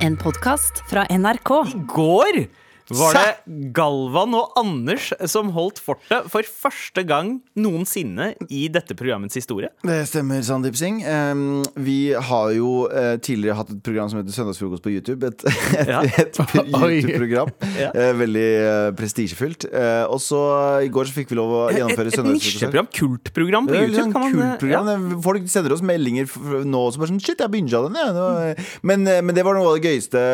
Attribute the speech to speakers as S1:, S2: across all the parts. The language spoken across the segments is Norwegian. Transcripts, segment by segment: S1: En podkast fra NRK.
S2: I går var det Galvan og Anders som holdt fortet for første gang noensinne i dette programmets historie.
S3: Det stemmer, Sandeep Singh. Um, vi har jo eh, tidligere hatt et program som heter Søndagsfrokost på YouTube. Et, et,
S2: Ja.
S3: et pr-
S4: Oi.
S3: YouTube-program.
S2: Ja.
S3: Eh, veldig eh, prestisjefylt. Eh, og så eh, i går så fikk vi lov å
S2: Et,
S3: gjennomføre
S2: et
S3: søndagsfrokost.
S2: nisjeprogram, kultprogram på
S3: Det er litt
S2: YouTube.
S3: sånn
S2: Kan man, eh,
S3: kult program.
S2: ja.
S3: Det er- Folk sender oss meldinger f- f- nå som bare sånn Shit, jeg binga den, jeg. Nå, eh, Men, eh, men det var noe av det gøyeste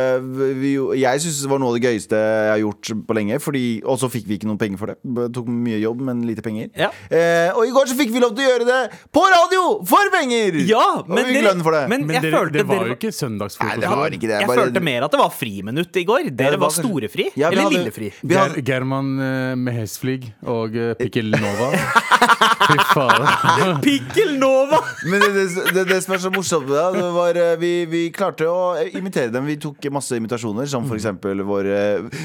S3: vi, jo- Jeg syns det var noe av det gøyeste jeg har gjort på lenge. Fordi, og så fikk vi ikke noen penger for det. Det tok mye jobb, men lite penger.
S2: Ja.
S3: Eh, og i går så fikk vi lov til å gjøre det på radio for penger!
S2: Ja,
S3: og vi fikk lønn for det.
S2: men
S4: Men
S2: jeg
S4: dere,
S2: følte
S4: det var
S2: dere-
S4: jo ikke
S3: Nei,
S4: søndagsfrokost.
S3: det var ikke det.
S2: Jeg
S3: bare-
S2: følte mer at det var friminutt i går. Dere
S3: det
S2: var
S3: var kanskje-
S2: storefri.
S3: Ja, vi
S2: Eller
S3: hadde-
S2: lillefri.
S3: vi
S4: Ger
S3: hadde-
S4: German eh, med Hesflig og eh, Pikkel Nova. Fy faen.
S2: Pikkel Nova!
S3: Men det, det, det, det som er så morsomt med det, det var eh, vi, vi klarte å eh, imitere dem. Vi tok masse imitasjoner, som for
S2: Mm.
S3: eksempel vår eh,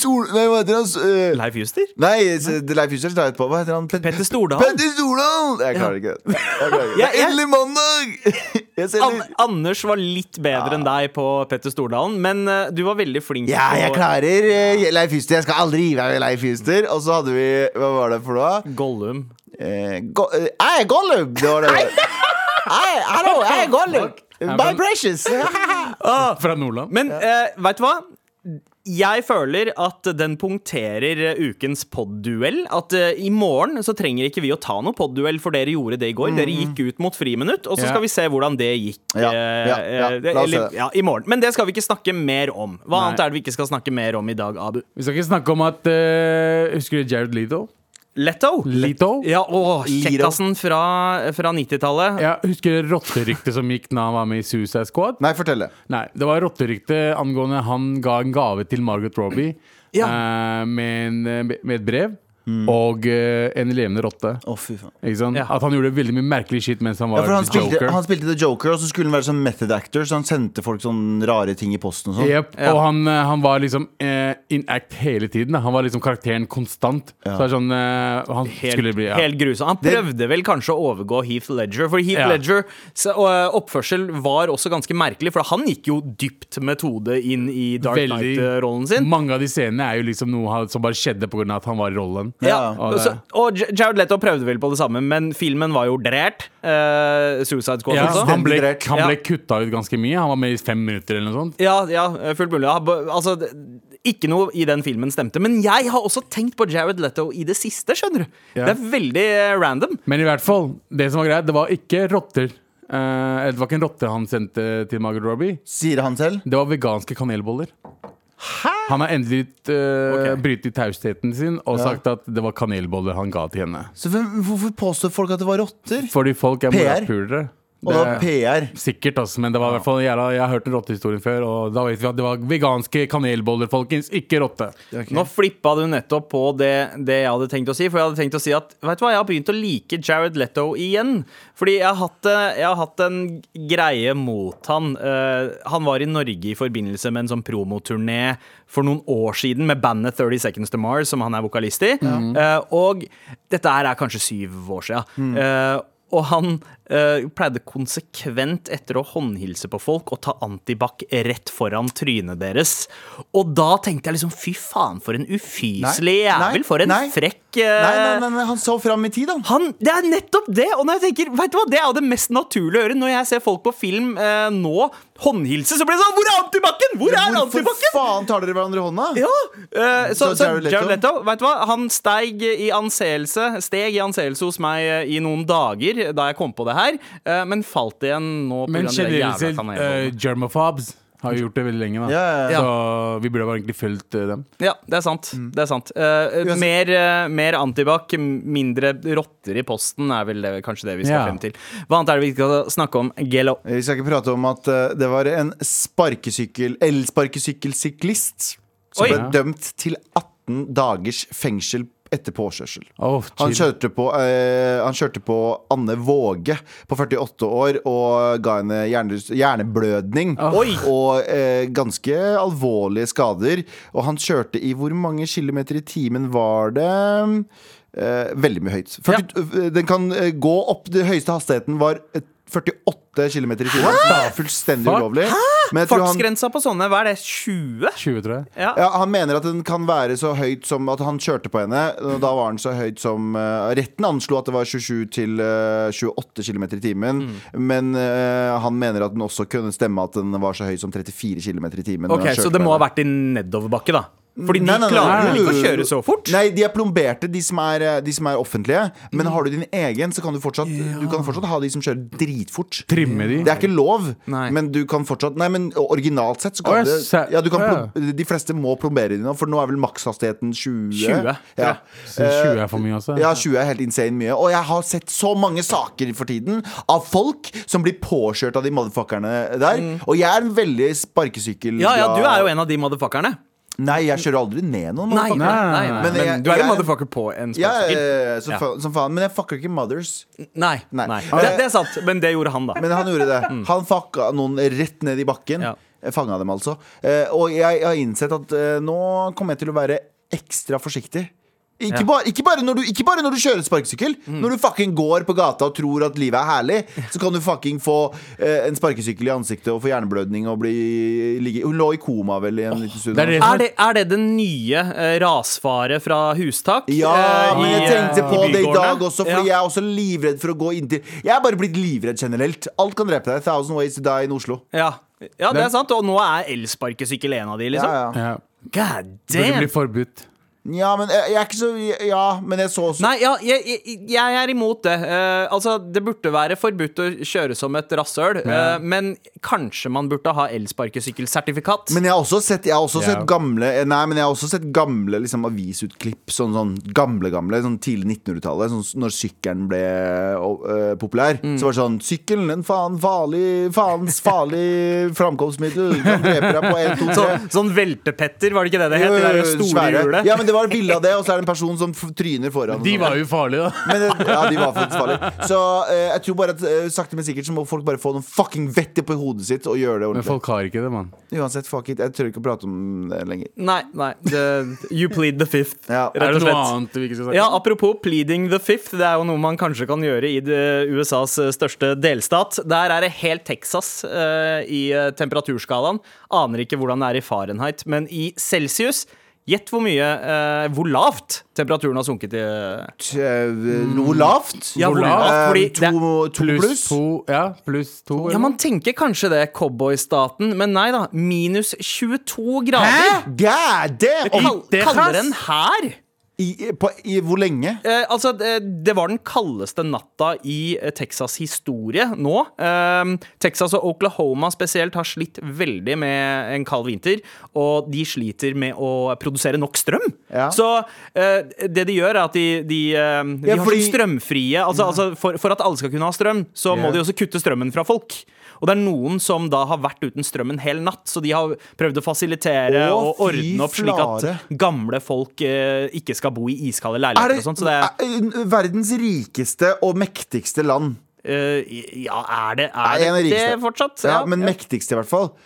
S3: Sol... Nei, hva heter han? S- eh,
S2: Leif Juster.
S3: Nei, s- det Leif Husser sa etterpå. Hva heter han? Pet-
S2: Petter Stordalen.
S3: Petter Stordalen! Jeg klarer ikke det. Jeg klarer ikke det.
S2: Ja,
S3: Det er
S2: jeg-
S3: Endelig mandag! Jeg ser
S2: An
S3: litt
S2: Anders var litt bedre enn deg på Petter Stordalen, men eh, du var veldig flink.
S3: ja,
S2: på-
S3: jeg klarer eh, Leif Huster. Jeg skal aldri gi meg med Leif Huster. Og så hadde vi Hva var det for noe?
S2: Gollum.
S3: Eh, go eh, jeg er Gollum! Det var det. Hei, hallo, jeg er Gollum! My precious! Ah.
S4: Fra Nordland.
S2: Men eh, vet du hva? Jeg føler at den punkterer eh, ukens podduell. At eh, i morgen så trenger ikke vi å ta noe podduell, for dere gjorde det i går. Dere gikk ut mot friminutt, og så
S4: Ja.
S2: skal vi se hvordan det gikk.
S3: Mm. Ja,
S2: eh,
S3: ja, ja.
S2: eh, det-
S3: La oss se
S2: eller-
S3: det.
S2: ja, i morgen. Men det skal vi ikke snakke mer om. Hva
S4: Nei.
S2: annet er det vi ikke skal snakke mer om i dag, Abu?
S4: Vi skal ikke snakke om at eh, Husker du Jared Leto?
S2: Letto.
S4: Leto?
S2: Ja, å,
S3: Liro.
S2: kjekkasen fra, fra 90-tallet.
S4: Ja, husker du rotteryktet som gikk da han var med i Suicide Squad?
S3: Nei, fortell det.
S4: Nei, det var rotterykte angående han ga en gave til Margaret Robbie eh, med, en, med et brev
S3: Mm.
S4: og eh, en levende rotte.
S3: Å, fy faen.
S4: Ikke sant?
S2: Ja.
S4: At han gjorde veldig mye merkelig shit mens han
S3: Ja,
S4: var
S3: for han spilte,
S4: Joker.
S3: han spilte The Joker, og så skulle han være sånn method actor, så han sendte folk sånn rare ting i posten og sånn.
S4: Jep, Og han, eh, han var liksom eh, in act hele tiden. da. Han var liksom karakteren konstant. Så det er sånn eh, Han skulle
S2: Helt,
S4: bli ja.
S2: helt grusom. Han prøvde vel kanskje å overgå Heath Ledger, for Heath
S4: Ja.
S2: Ledger s- og, eh, oppførsel var også ganske merkelig, for han gikk jo dypt metode inn i Dark
S4: Veldig-
S2: Knight-rollen sin.
S4: Mange av de scenene er jo liksom noe han, som bare skjedde pga. at han var i rollen.
S2: Ja,
S4: Og
S2: og,
S4: det-
S2: så, og J- Jared Leto prøvde vel på det samme, men filmen var jo drært. Eh, Suicide Squad
S4: Ja,
S2: også.
S4: han ble,
S3: Fullstendig
S4: han ble
S2: Ja.
S4: kutta ut ganske mye. Han var med i fem minutter eller noe sånt.
S2: Ja, ja, fullt mulig. Ja, b- Altså, d- ikke noe i den filmen stemte. Men jeg har også tenkt på Jared Leto i det siste, skjønner du.
S4: Ja.
S2: Det er veldig eh, random.
S4: Men i hvert fall, det som var greit, det var ikke rotter. Eh, eller det var ikke en rotte han sendte til Margaret Robbie.
S3: Sier han selv.
S4: Det var veganske kanelboller. Han har endelig uh,
S2: Ok.
S4: brytet tausheten sin og sagt at det var kanelboller han ga til henne.
S3: Så hvem, hvorfor påstår folk at det var rotter?
S4: Fordi folk er
S3: PR.
S4: morapulere.
S3: Og det var
S4: Det-
S3: PR.
S4: Sikkert, altså, men det var i hvert fall jævla, jeg har hørt den rottehistorien før, og da vet vi at det var veganske kanelboller, folkens, ikke rotte.
S2: Nå flippa du nettopp på det, det jeg hadde tenkt å si. For jeg hadde tenkt å si at vet du hva, jeg har begynt å like Jared Leto igjen. Fordi jeg har hatt, eh, jeg har hatt en greie mot han. Eh, han var i Norge i forbindelse med en sånn promoturné for noen år siden med bandet 30 Seconds to Mars, som han er vokalist i. Eh, og dette her er kanskje syv år sia. og han eh, pleide konsekvent etter å håndhilse på folk og ta antibac rett foran trynet deres. Og da tenkte jeg liksom fy faen, for en ufyselig
S3: Nei, nei,
S2: jævel! For en
S3: nei.
S2: frekk eh,
S3: Nei, nei, nei, nei, han så fram i tid, da.
S2: han, det er nettopp det! Og når jeg tenker, vet du hva, det er jo det mest naturlige å gjøre. Når jeg ser folk på film eh, nå håndhilse, så blir det sånn Hvor er antibac-en?! Hvor er
S3: Hvorfor
S2: antibac-en?!
S3: faen tar dere hverandre i hånda?
S2: Ja! eh, så,
S3: Så
S2: så
S3: Jared Leto?
S2: Jared Leto, vet du hva? Han steig i anseelse Steg i anseelse hos meg eh, i noen dager da jeg kom på det her, eh, men falt igjen nå på
S4: Men
S2: grunn av de
S4: generelt
S2: jævla
S4: sett, eh,
S2: kanelbollene.
S4: germafobs har jo gjort det veldig lenge, da.
S3: Ja, ja, ja.
S4: Så vi burde bare egentlig fulgt eh, dem.
S2: Ja, det er sant. Det er sant. Eh,
S3: Mm. Uansett-
S2: mer eh, mer antibac, mindre rotter i posten, er vel det, kanskje det vi skal
S4: Ja.
S2: frem til. Hva annet er det vi skal snakke om? Gelo.
S3: Vi skal ikke prate om at eh, det var en sparkesykkel elsparkesykkelsyklist som
S2: Oi.
S3: ble dømt til 18 dagers fengsel etter påkjørsel.
S4: Åh,
S3: Han
S4: chill.
S3: kjørte, på, eh, han kjørte på Anne Våge på 48 år og ga henne hjerne, hjerneblødning
S4: Ah.
S2: Oi.
S3: og eh, ganske alvorlige skader. Og han kjørte i hvor mange kilometer i timen var det? Eh, veldig mye høyt. 40, Den kan eh, gå opp Den høyeste hastigheten var eh, 48 km i timen. som er Fullstendig
S4: Fuck.
S3: ulovlig. Men jeg tror han,
S2: Fartsgrensa på sånne, hva er det, 20?
S4: 20, tror jeg.
S2: Ja.
S3: ja, han mener at den kan være så høyt som at han kjørte på henne. Og da var den så høyt som eh, Retten anslo at det var 27 til eh, 28 km i timen.
S2: Mm.
S3: Men eh, han mener at den også kunne stemme at den var så høy som 34 km i timen. når
S2: Ok,
S3: han kjørte
S2: Så
S3: på
S2: det må ha
S3: henne.
S2: vært i nedoverbakke, da? Fordi de
S3: Nei, Mm. nei, nei,
S2: klarer
S3: nei,
S2: vel ikke å
S3: nei.
S2: kjøre så fort?
S3: Nei, de er plomberte, de som er, eh, de som er offentlige. Men har du din egen, så kan du fortsatt, du kan fortsatt ha de som kjører dritfort.
S4: Trimme de.
S3: Det er ikke lov,
S2: Nei.
S3: men du kan fortsatt Nei, men originalt sett så
S4: Å,
S3: kan
S4: jeg
S3: det
S4: ser-
S3: ja, du kan
S4: ja.
S3: plom- De fleste må plombere de nå, for nå er vel makshastigheten 20.
S2: 20,
S3: ja.
S4: Så 20 er for mye, altså.
S3: Ja, 20 er helt insane mye. Og jeg har sett så mange saker for tiden av folk som blir påkjørt av de motherfuckerne der. Og jeg er en veldig sparkesykkel...
S2: Mm. Ja, ja, du er jo en av de motherfuckerne.
S3: Nei, jeg kjører aldri ned noen.
S2: Nei, nei,
S3: motherfucker.
S2: nei, nei.
S3: Men
S2: Men,
S3: jeg-
S2: du er
S3: jeg-
S2: en motherfucker på en
S3: Ja,
S2: sparkesykkel.
S3: eh, som,
S2: Ja.
S3: fa som faen. Men jeg fucker ikke mothers.
S2: Nei.
S3: Nei.
S2: nei.
S3: Ah,
S2: Det,
S3: ja.
S2: det er sant, men det gjorde han, da.
S3: Men han gjorde det. Han fucka noen rett ned i bakken.
S2: Ja.
S3: Eh, Fanga dem, altså. Eh, og jeg, jeg har innsett at eh, nå kommer jeg til å være ekstra forsiktig. Ikke,
S2: Ja.
S3: bare, ikke, bare når du, ikke bare når du kjører sparkesykkel. Når du fucking går på gata og tror at livet er herlig, så kan du fucking få eh, en sparkesykkel i ansiktet og få hjerneblødning og bli ligge Hun lå i koma vel i en liten stund.
S4: det er det
S2: Er det, er det den nye eh, rasfare fra hustak?
S3: Ja,
S2: eh,
S3: men jeg
S2: i, eh,
S3: tenkte på
S2: i
S3: det i
S2: bygårdene?
S3: dag også, fordi jeg er også livredd for å gå inntil Jeg er bare blitt livredd generelt. Alt kan drepe deg. Thousand Ways to Die in Oslo.
S2: ja. ja. ja, det er sant. Og nå er elsparkesykkel en av de, liksom.
S3: Ja, ja.
S4: Ja.
S2: God
S4: Burde
S2: damn!
S4: bli forbudt.
S3: ja, men jeg, jeg er ikke så Ja, men jeg så også
S2: Nei, ja, jeg, jeg, jeg er imot det. Eh, altså, Det burde være forbudt å kjøre som et rasshøl, eh, men kanskje man burde ha elsparkesykkelsertifikat.
S3: Men jeg har også sett, jeg har også
S4: Ja.
S3: sett gamle eh, Nei, men jeg har også sett gamle liksom, avisutklipp. Sånn, sånn gamle, gamle. Sånn tidlig 1900-tallet. Sånn, s- når sykkelen ble eh, populær.
S2: Mm.
S3: Så var det sånn Sykkelen, en faen farlig Faens farlig framkomstmiddel. Kan drepe deg på 1, 2, 3.
S2: Så, sånn veltepetter, var det ikke det det het? Det der store
S3: Svære.
S2: hjulet.
S3: Ja, men det var et bilde av det, og så er det en person som f- tryner foran. og
S4: De
S3: sånn.
S4: var jo farlige, da.
S3: Men, eh, ja, de var faktisk farlige. Så eh, jeg tror bare at eh, sakte, men sikkert så må folk bare få noen fucking vett på hodet sitt og gjøre det
S4: Men
S3: ordentlig.
S4: folk har ikke det, mann.
S3: Uansett, fuck it. Jeg tør ikke å prate om det lenger.
S2: Nei, nei. Det, you plead the fifth.
S3: Ja.
S2: Rett og
S4: Er det noe
S2: slett.
S4: annet vi ikke skal snakke
S2: Ja, Apropos pleading the fifth, det er jo noe man kanskje kan gjøre i det USAs eh, største delstat. Der er det helt Texas eh, i eh, temperaturskalaen. Aner ikke hvordan det er i Fahrenheit, men i celsius Gjett hvor mye eh, Hvor lavt temperaturen har sunket i
S3: Eh, Noe lavt?
S2: Ja,
S4: hvor
S3: Eh,
S2: lavt? Fordi det-
S3: to, to
S4: Pluss
S3: pluss?
S4: to. Ja, pluss to.
S2: Ja,
S4: eller
S2: man tenker kanskje det, cowboystaten, men nei da. Minus 22 grader.
S3: God damn!
S2: Kal
S4: I Texas?
S2: kaldere enn her.
S3: I, på, i, hvor lenge?
S2: Eh, altså, det, det var den kaldeste natta i eh, Texas historie nå. Eh, Texas og Oklahoma spesielt har slitt veldig med en kald vinter. Og de sliter med å produsere nok strøm.
S3: Ja.
S2: Så eh, det de gjør, er at de, de, eh, de
S3: Ja,
S2: har
S3: fordi-
S2: sånn strømfrie altså, altså for, for at alle skal kunne ha strøm, så
S3: Ja.
S2: må de også kutte strømmen fra folk. Og det er noen som da har vært uten strøm en hel natt, så de har prøvd å fasilitere
S3: Å,
S2: og
S3: fy
S2: ordne opp slik
S3: flare.
S2: at gamle folk eh, ikke skal bo i iskalde
S3: Er
S2: leiligheter
S3: det,
S2: og sånt. Så det er
S3: er- Eh, verdens rikeste og mektigste land.
S2: Eh, ja, er det er
S3: Er en av
S2: det,
S3: de
S2: det
S3: rikeste.
S2: fortsatt? Mm.
S3: Ja, men mektigste, i hvert fall.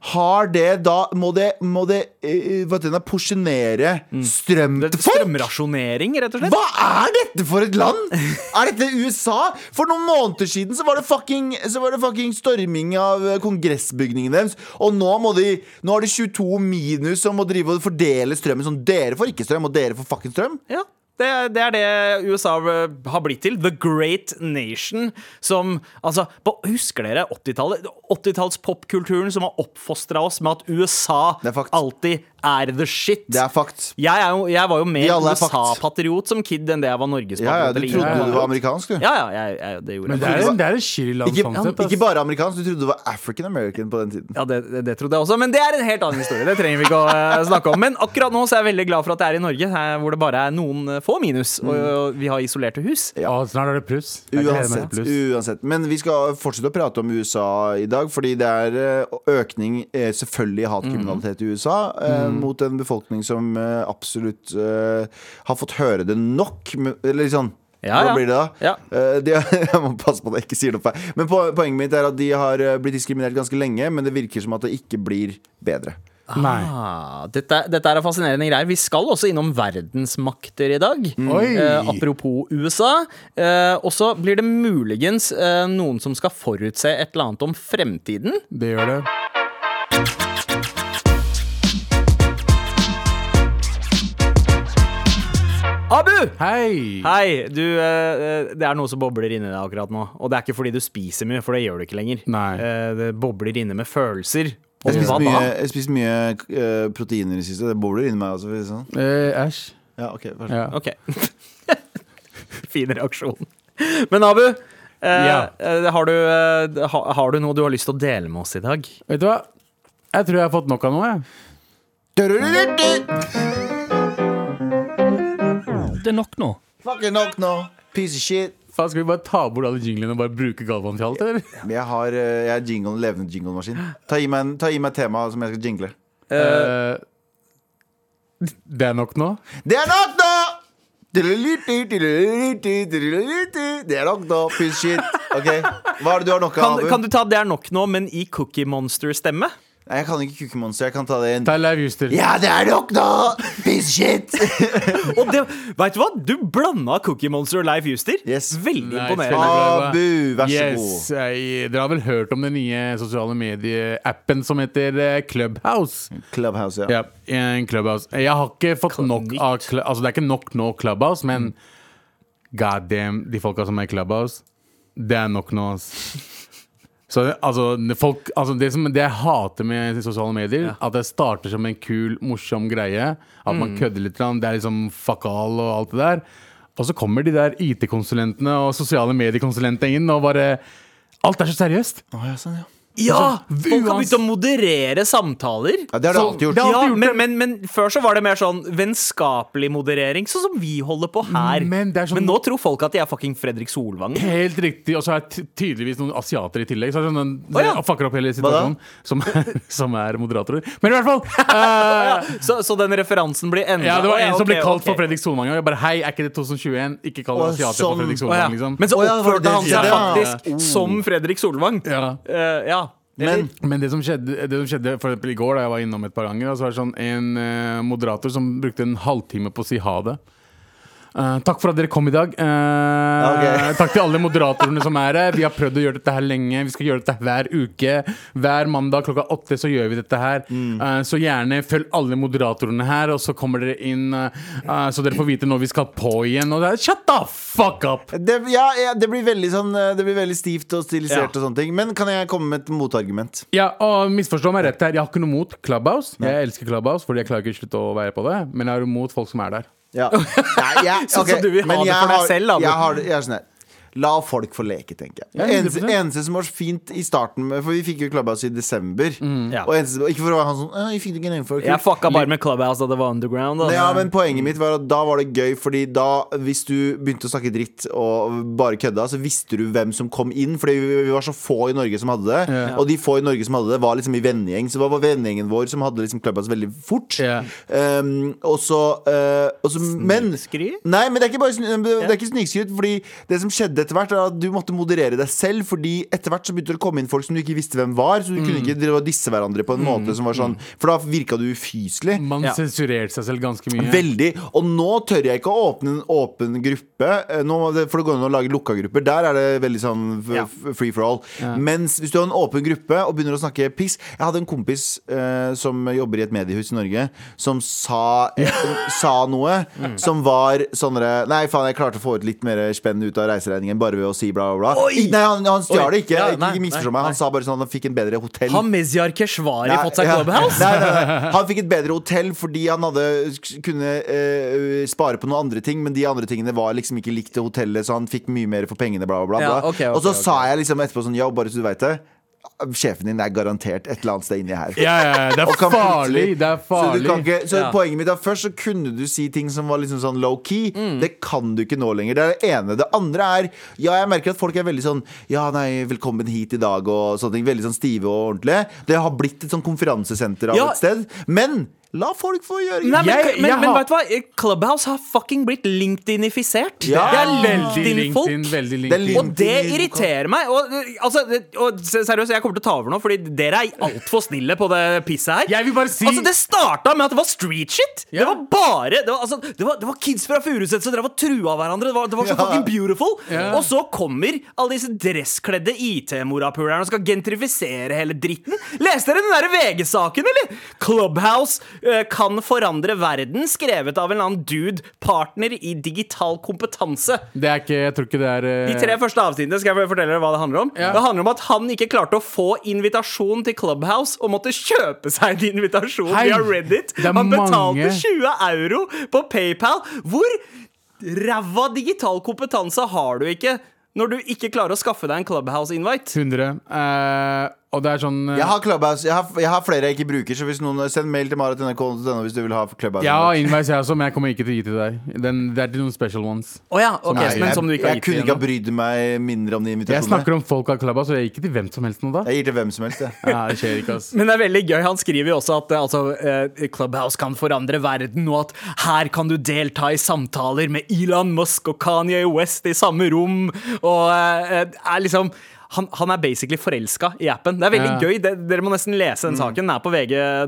S3: Har det da Må det, må det eh, hva heter det, porsjonere
S2: Mm.
S3: strøm
S2: Det er
S3: til folk?
S2: Strømrasjonering, rett og slett.
S3: Hva er dette for et land?! Er dette USA?! For noen måneder siden så var det fucking, så var det fucking storming av eh, kongressbygningen deres. Og nå, må de, nå har de 22 minus og må drive og fordele strømmen sånn. Dere får ikke strøm, og dere får fucking strøm.
S2: Ja, det, er- det er det USA eh, har blitt til. The Great Nation. Som altså på, Husker dere 80-tallet? 80-talls popkulturen som har oppfostra oss med at USA
S3: Det er fucked.
S2: alltid er the shit.
S3: Det er fucked.
S2: jeg, er jo, jeg var jo
S3: Vi
S2: mer
S3: alle er fucked.
S2: USA-patriot som kid enn det jeg var Norges-patriot.
S3: Ja, ja, du
S2: eller
S3: trodde
S2: Irland-patriot.
S3: du var amerikansk, du.
S2: Ja, ja, jeg, jeg, det gjorde
S4: Men
S2: jeg.
S4: det er, det er et shitty land
S3: Ikke,
S4: sånn sett. ass.
S3: ikke bare amerikansk, du trodde du var African American på den tiden.
S2: Ja, det, det, det trodde jeg også, men det er en helt annen historie. Det trenger vi ikke å eh, snakke om. Men akkurat nå så er jeg veldig glad for at det er i Norge, her hvor det bare er noen eh, få minus, og,
S4: Mm.
S2: og vi har isolerte hus.
S4: Å, snart er det pluss. Jeg gleder meg til
S3: Uansett,
S4: pluss.
S3: uansett. Men vi skal fortsette å prate om USA i dag, fordi det er eh, økning eh, selvfølgelig i hatkriminalitet i USA
S2: Mm.
S3: eh, mot en befolkning som eh, absolutt eh, har fått høre det nok. men- Eller sånn.
S2: Ja,
S3: Hva
S2: ja.
S3: blir det da?
S2: Ja.
S3: Eh, de, jeg må passe på at jeg ikke sier noe feil. Men po- poenget mitt er at de har eh, blitt diskriminert ganske lenge, men det virker som at det ikke blir bedre.
S4: Nei.
S2: Ah, dette, dette er fascinerende greier. Vi skal også innom verdensmakter i dag.
S4: Mm. Oi.
S2: Eh, apropos USA. Eh, og så blir det muligens eh, noen som skal forutse et eller annet om fremtiden.
S4: Det gjør det.
S2: Abu!
S4: Hei!
S2: Hei, du, eh, det er noe som bobler inni deg akkurat nå. Og det er ikke fordi du spiser mye, for det gjør du ikke lenger.
S4: Nei.
S2: Eh, det bobler inne med følelser. Og
S3: Jeg
S2: hva
S3: spiser mye,
S2: da?
S3: jeg spiser mye eh, proteiner i det siste. Det bobler inni meg også. for å si det Sånn.
S4: Eh, Æsj.
S3: Ja, ok, vær så god.
S4: Ja.
S2: Ok. fin reaksjon. Men Abu, eh,
S4: Ja.
S2: eh, har, du, eh, ha, har du noe du har lyst til å dele med oss i dag?
S4: Vet du hva? Jeg tror jeg har fått nok av noe. jeg.
S5: Det er nok nå.
S3: Fucking nok nå. Piece of shit.
S4: Faen, skal vi bare ta bort alle jinglene og bare bruke Galvan til alt, eller?
S3: Jeg, har, eh, jeg er jingle, levende jinglemaskin. Ta gi meg, en- ta gi meg et tema som jeg skal jingle.
S4: Eh, det er nok nå?
S3: Det er nok nå! Det er nok nå. Piece of shit. Ok, Hva er det du har nok av,
S2: Kan,
S3: Abu?
S2: kan du ta 'Det er nok nå', men i Cookie Monster-stemme?
S3: Nei, jeg kan ikke Kukkemonster. Jeg kan ta det igjen.
S4: Ta Live Juster.
S3: Ja, det er nok nå! Piece of shit.
S2: Og det, vet du hva? Du blanda Cookie Monster og Leif Juster.
S3: Yes.
S2: Veldig
S4: Nice.
S2: imponerende.
S3: Abu, Ah, vær så
S4: Yes,
S3: god.
S4: jeg, Dere har vel hørt om den nye sosiale medie-appen som heter eh, Clubhouse?
S3: Clubhouse, ja.
S4: Ja, en Clubhouse. Jeg har ikke fått nok av Cl- Altså, det er ikke nok nå Clubhouse, men god damn, de folka som er i Clubhouse, det er nok nå, ass. Så det- altså, det folk, altså det, som, det jeg hater med sosiale medier, at det starter som en kul, morsom greie. At man kødder litt, grann, det er liksom fuck all og alt det der. Og så kommer de der IT-konsulentene og sosiale mediekonsulentene inn og bare Alt er så seriøst!
S3: Å, ja, sånn, ja.
S2: Ja! Altså, Folk har
S4: uans-
S2: begynt å moderere samtaler.
S3: ja det har du alltid gjort.
S4: det har alltid
S2: Ja,
S4: gjort
S2: men, men, men før så var det mer sånn vennskapelig moderering, sånn som vi holder på her.
S4: Men det er sånn-
S2: nå tror folk at de er fucking Fredrik Solvang.
S4: Helt riktig. Og så er det ty- tydeligvis noen asiater i tillegg. Så er det sånn,
S2: Å, ja.
S4: og fucker opp hele situasjonen. Som er, som er moderatorer. Men i hvert fall! eh,
S2: Så, så den referansen blir enda
S4: ja, det
S2: Å,
S4: var en som ble
S2: ok,
S4: kalt for
S2: ok.
S4: Fredrik Solvang. Og jeg bare hei, er ikke det 2021? Ikke kall
S3: Å,
S4: asiater
S3: sånn.
S4: for
S2: Å,
S4: Fredrik
S2: ja.
S4: Solvang, liksom.
S2: Men så
S3: Å, ja, det var
S2: oppførte
S3: det
S2: han
S3: de
S2: seg
S3: sa, ja.
S2: faktisk som Fredrik Solvang.
S4: ja.
S2: Eh, ja.
S3: Men
S4: Men det som skjedde, det som skjedde for eksempel i går, da jeg var innom et par ganger, så var det sånn en eh, moderator som brukte en halvtime på å si ha det. Eh, takk for at dere kom i dag. Eh,
S3: Ok.
S4: Takk til alle moderatorene som er her. Vi har prøvd å gjøre dette her lenge. Vi skal gjøre dette hver uke. Hver mandag klokka åtte så gjør vi dette her.
S3: Mm.
S4: Eh, så gjerne følg alle moderatorene her, og så kommer dere inn, eh, eh, så dere får vite når vi skal på igjen. Og det er, Shut the fuck up!
S3: det, ja, ja, det blir veldig sånn eh, Det blir veldig stivt og stilisert og
S4: Ja.
S3: sånne ting. Men kan jeg komme med et motargument?
S4: Ja, og misforstå meg rett her. Jeg har ikke noe mot Clubhouse. Jeg elsker Clubhouse, fordi jeg klarer ikke å slutte å være på det. Men jeg har imot folk som er der.
S3: Ja. Nei, jeg-
S2: Sånn
S3: ok,
S2: som du vil ha
S3: men
S2: det
S3: jeg
S2: for deg
S3: har-
S2: selv, da,
S3: Jeg
S2: Morten.
S3: har, det- jeg er sånn her La folk få leke, tenker jeg.
S4: Ja,
S3: eneste,
S4: 100%.
S3: eneste som var fint i starten med, For vi fikk jo Clubhouse i desember.
S2: Ja.
S3: Og eneste, ikke for å være han sånn «Å, Jeg fikk det ikke innenfor.
S2: Mm. Jeg fucka bare med Clubhouse da det var underground. Altså.
S3: Ja, men poenget mitt var at da var det gøy, Fordi da, hvis du begynte å snakke dritt og bare kødda, så visste du hvem som kom inn. Fordi vi, vi var så få i Norge som hadde det.
S4: Ja.
S3: Og de få i Norge som hadde det, var liksom i vennegjeng. Så det var vennegjengen vår som hadde liksom Clubhouse veldig fort.
S4: Ja.
S3: Um, og så eh, og så- Men
S2: Snikskryt?
S3: Nei, men det er ikke, bare sn- det er ikke snikskryt. Fordi det som skjedde etter hvert, er at du måtte moderere deg selv. Fordi etter hvert så begynte det å komme inn folk som du ikke visste hvem var. Så du kunne ikke drive og disse hverandre på en måte som var sånn For da virka du ufyselig.
S4: Man
S2: Ja.
S4: sensurerte seg selv ganske mye.
S3: Veldig. Og nå tør jeg ikke å åpne en åpen gruppe. Eh, Nå, må det- for det går an å lage lukka grupper. Der er det veldig sånn f
S2: Ja.
S3: f- free for all. Mens hvis du har en åpen gruppe og begynner å snakke piss Jeg hadde en kompis eh, som jobber i et mediehus i Norge, som sa, eh, sa noe
S2: Mm.
S3: som var sånn derre, Nei, faen, jeg klarte å få ut litt mer spenn ut av reiseregningen bare ved å si bla, bla, bla. Ikke- Nei, han, han
S2: Oi.
S3: stjal det ikke.
S2: Ja,
S3: Ikke-
S2: nei,
S3: ikke misforstå
S2: nei,
S3: meg.
S2: nei.
S3: Han sa bare sånn at han fikk en bedre hotell.
S2: Har Mezyar Keshvari
S3: Nei,
S2: fått seg
S3: ja.
S2: Clubhouse?
S3: Nei, nei, nei. Han fikk et bedre hotell fordi han hadde kunne eh, spare på noen andre ting, men de andre tingene var liksom ikke likt det hotellet, så han fikk mye mer for pengene, bla, bla, bla.
S2: Ja, ok, ok,
S3: og så
S2: ok.
S3: sa jeg liksom etterpå sånn, ja, bare så du veit det, sjefen din er garantert et eller annet sted inni her.
S4: Ja, ja, ja, det
S3: Og
S4: er
S3: kan
S4: farlig!
S3: plutselig-
S4: Det er
S3: Så, du kan
S4: farlig.
S3: ikke, så
S2: Ja.
S3: poenget mitt er først så kunne du si ting som var liksom sånn low key.
S2: Mm.
S3: Det kan du ikke nå lenger. Det er det ene. Det andre er Ja, jeg merker at folk er veldig sånn Ja, nei, velkommen hit i dag og sånne ting. Veldig sånn stive og ordentlige. Det har blitt et sånn konferansesenter av
S2: Ja.
S3: et sted. Men La folk få gjøre
S2: Nei, men,
S4: Jeg-
S2: men,
S4: jeg
S2: men
S4: har-
S2: vet du hva? Clubhouse har fucking blitt LinkedIn-ifisert.
S3: Ja.
S2: Det er
S4: Veldig LinkedIn.
S2: LinkedIn-folk.
S4: Veldig
S3: Det er
S4: LinkedIn.
S3: LinkedIn.
S2: Og det irriterer meg. Og, altså, det- og se- seriøst, jeg kommer til å ta over nå, fordi dere er altfor snille på det pisset her.
S4: Jeg vil bare si-
S2: Altså, Det starta med at det var street shit!
S4: Ja.
S2: Det var bare Det var, altså, det var, det var kids fra Furuset som drev og trua hverandre. Det var, det var så
S3: Ja.
S2: fucking beautiful.
S4: Ja.
S2: Og så kommer alle disse dresskledde IT-morapulerne og skal gentrifisere hele dritten. Leste dere den der VG-saken, eller? Clubhouse eh, kan forandre verden, skrevet av en eller annen dude, partner i digital kompetanse.
S4: Det er ikke Jeg tror ikke det er eh,
S2: De tre første avsnittene skal jeg fortelle dere hva det handler om.
S4: Ja.
S2: Det handler om at han ikke klarte å få invitasjon til Clubhouse og måtte kjøpe seg en invitasjon
S4: Hei,
S2: via Reddit.
S4: det er
S2: Han betalte
S4: mange.
S2: 20 euro på PayPal. Hvor ræva digital kompetanse har du ikke når du ikke klarer å skaffe deg en Clubhouse-invite?
S4: 100. eh, og det er sånn eh,
S3: Jeg har Clubhouse, jeg har, jeg har flere jeg ikke bruker, så hvis noen send mail til marit.nrk.no hvis du vil ha Clubhouse.
S4: Jeg har invice, eh, jeg også, men jeg kommer ikke til å gi til deg. Den, det er til noen special ones.
S2: Å ja, ok,
S4: Nei,
S2: men
S3: jeg,
S2: som du ikke har
S3: jeg
S2: gitt
S3: kunne
S2: til
S3: ikke ha brydd meg mindre om de
S4: Jeg
S3: invitasjonene.
S4: snakker om folk av klubba, så jeg gir ikke til hvem som helst nå, da.
S3: Jeg gir til hvem som helst, jeg.
S4: Ja, det skjer ikke, ass.
S2: Men det er veldig gøy. Han skriver jo også at eh, altså, eh, Clubhouse kan forandre verden, og at her kan du delta i samtaler med Elon Musk og Kanye West i samme rom. Og eh, er liksom han, han er basically forelska i appen. Det er veldig
S4: Ja.
S2: gøy. Det, dere må nesten lese den saken. Den er på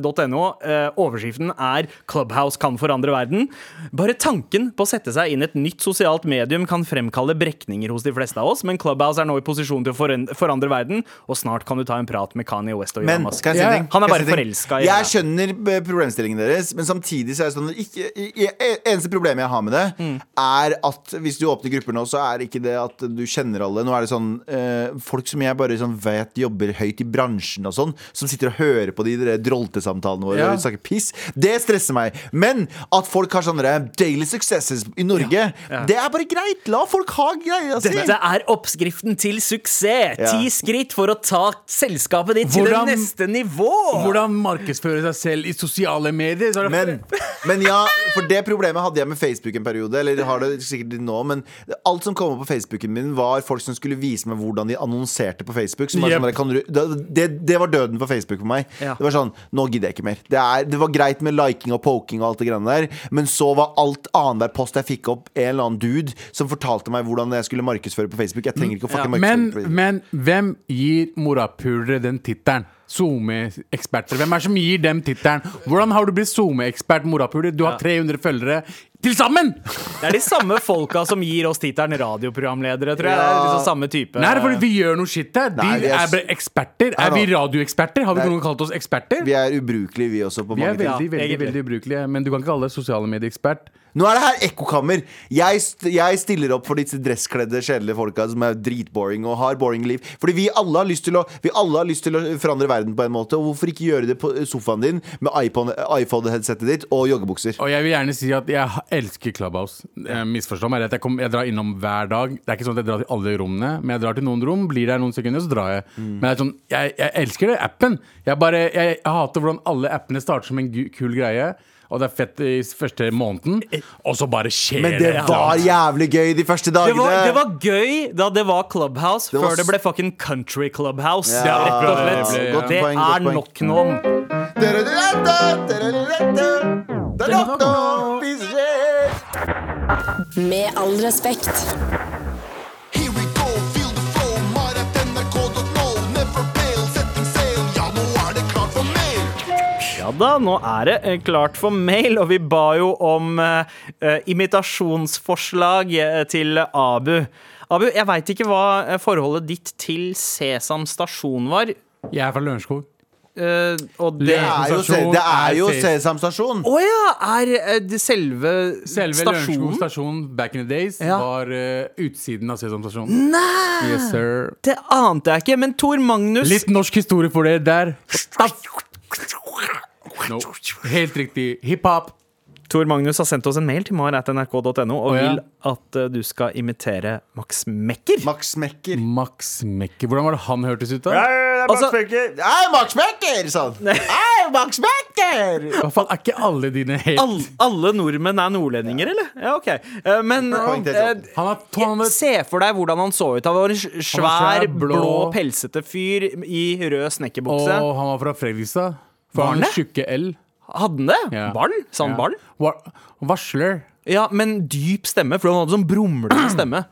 S2: vg.no. Eh, overskriften er 'Clubhouse kan forandre verden'. Bare tanken på å sette seg inn i et nytt sosialt medium kan fremkalle brekninger hos de fleste av oss, men Clubhouse er nå i posisjon til å foran- forandre verden, og snart kan du ta en prat med Kanye West og
S3: Men
S2: Elon Musk.
S3: kan jeg si
S4: Ja,
S3: en
S4: ja.
S3: ting?
S2: Han er
S3: Kan
S2: bare
S3: jeg si en ting?
S2: forelska i
S3: Jeg
S2: henne.
S3: skjønner eh, problemstillingen deres, men samtidig så er det sånn at ikke, i- i- Eneste problemet jeg har med det, er at hvis du åpner grupper nå, så er ikke det at du kjenner alle. Nå er det sånn eh, folk som jeg bare sånn vet jobber høyt i bransjen og sånn, som sitter og hører på de der droltesamtalene våre
S4: Ja.
S3: og snakker piss. Det stresser meg. Men at folk har sånne der daily successes i Norge, det er bare greit. La folk ha Altså, greia si.
S2: Dette er oppskriften til suksess.
S3: Ja.
S2: Ti skritt for å ta selskapet ditt til
S4: Hvordan-
S2: det neste nivå.
S4: Hvordan markedsføre seg selv i sosiale medier? Så er det
S3: Men, men ja, for det problemet hadde jeg med Facebook en periode. Eller har det sikkert nå, men alt som kom opp på Facebooken min, var folk som skulle vise meg hvordan de annonserte på Facebook. Som var
S4: Jep.
S3: sånn, der, kan du, det, det- det var døden for Facebook for meg.
S2: Ja.
S3: Det var sånn, Nå gidder jeg ikke mer. Det, er, det var greit med liking og poking, og alt det greiene der men så var alt annenhver post jeg fikk opp, en eller annen dude som fortalte meg hvordan jeg skulle markedsføre på Facebook. Jeg trenger ikke å fucking
S4: Mm. Men,
S3: markedsføre på Facebook.
S4: men hvem gir morapulere den tittelen? SoMe-eksperter. Hvem er det som gir dem tittelen? Hvordan har du blitt SoMe-ekspert morapuler? Du har 300 følgere til sammen!
S2: Det er de samme folka som gir oss tittelen radioprogramledere, tror jeg. Det er
S3: Ja.
S2: liksom samme type.
S4: Nei, det er fordi vi gjør noe shit her. De
S3: Nei, vi er
S4: er
S3: s-
S4: bare eksperter.
S3: Nei,
S4: Er vi
S3: da.
S4: radioeksperter? Har vi
S3: Nei.
S4: noen gang kalt oss eksperter?
S3: Vi er ubrukelige, vi også, på
S4: Vi
S3: mange
S4: er
S3: ting.
S4: veldig,
S2: Ja,
S4: veldig
S2: egentlig.
S4: veldig ubrukelige, men du kan ikke kalle deg sosiale medieekspert.
S3: Nå er det her ekkokammer. Jeg, st jeg stiller opp for disse dresskledde, kjedelige folka som er dritboring og har boring liv. Fordi vi alle har lyst til å, vi alle har lyst til å forandre verden på en måte. Og hvorfor ikke gjøre det på sofaen din med iPhone- iPhone-headsetet ditt og joggebukser?
S4: Og jeg vil gjerne si at jeg elsker Clubhouse. Eh, Misforstå meg rett, jeg, kom, jeg drar innom hver dag. Det er ikke sånn at jeg drar til alle rommene, men jeg drar til noen rom, blir der noen sekunder, så drar jeg. Men det er sånn, jeg, jeg elsker det, appen. Jeg, bare, jeg, jeg hater hvordan alle appene starter som en gu- kul greie, og det er fett i s- første måneden, og så bare skjer
S3: Men det
S4: et eller
S3: var
S4: annet.
S3: jævlig gøy de første
S2: det,
S3: dagene.
S2: var, det var gøy da det var Clubhouse,
S3: Det var
S2: før det
S3: s-
S2: ble fucking Country Clubhouse.
S3: Ja,
S2: rett og slett.
S4: det ble-
S3: godt
S2: det
S3: poeng, godt
S2: er
S3: poeng.
S2: nok nå.
S3: Det er nok nå, vi ses!
S1: Med all respekt.
S5: Here we go, feel the flow, maratnrk.no. Never fail, setting sail. Ja, nå er det klart for mer.
S2: Ja da, nå er det eh, klart for mail, og vi ba jo om eh, eh, imitasjonsforslag eh, til Abu. Abu, jeg veit ikke hva eh, forholdet ditt til Sesam stasjon var.
S4: Jeg er fra Lørenskog.
S2: eh, og det
S3: Det
S4: Ja.
S3: er jo, se- det er jo Sesam stasjon.
S2: Å ja! Er eh, det selve,
S4: Selve Lørenskog
S2: stasjonen?
S4: stasjon back in the days
S2: Ja.
S4: var eh, utsiden av Sesam stasjon. Nei! Yes, sir.
S2: Det ante jeg ikke, men Tor Magnus
S4: Litt norsk historie for dere der. No. Helt riktig. Hiphop.
S2: Tor Magnus har sendt oss en mail til mar.nrk.no og
S4: Å ja.
S2: vil at eh, du skal imitere Max Mekker.
S3: Max Mekker.
S4: Max Mekker. Hvordan var det han hørtes ut da?
S2: Altså-
S3: Hei, Max Mekker! sa han. Hei, Max Mekker!
S4: Hva faen, er ikke alle dine helt
S2: All, alle nordmenn er nordlendinger, eller? Ja, ok. Eh, Men
S3: Poeng til
S2: eh,
S3: Trond.
S4: Han er
S2: jeg-
S4: tånet.
S2: se for deg hvordan han så ut. Han var en sj- svær,
S4: svær,
S2: blå,
S4: blå,
S2: pelsete fyr i rød
S4: Og
S2: snekkerbukse.
S4: han var fra Fredrikstad. For
S2: Var
S4: han
S2: han det?
S4: tjukke L.
S2: Hadde han det?
S4: Ja.
S2: Ball? Sa han
S4: Ja.
S2: ball?
S4: Var- Varsler.
S2: Ja, men dyp stemme, for han hadde sånn brumlete stemme.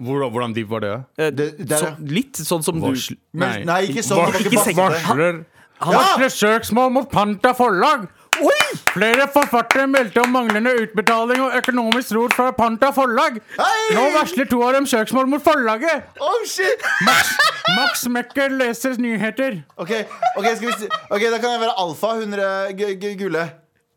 S4: Hvor, hvordan dyp var det?
S2: Eh,
S3: Det- det er-
S2: så, litt sånn som du
S4: Varsl-
S3: Men, nei, ikke sånn. det var
S2: Ikke
S3: ikke
S2: sekk-
S3: basse.
S4: Varsler.
S3: Ja!
S4: Varsler søksmål mot Panta forlag. Flere forfattere meldte om manglende utbetaling og økonomisk rot fra Panta forlag.
S3: Hei!
S4: Nå varsler to av dem søksmål mot forlaget.
S3: Oh, shit!
S4: Max Mekker leser nyheter.
S3: Ok, ok, skal vi se. ok, da kan jeg være alfa, hun eh, gu- gu- gule.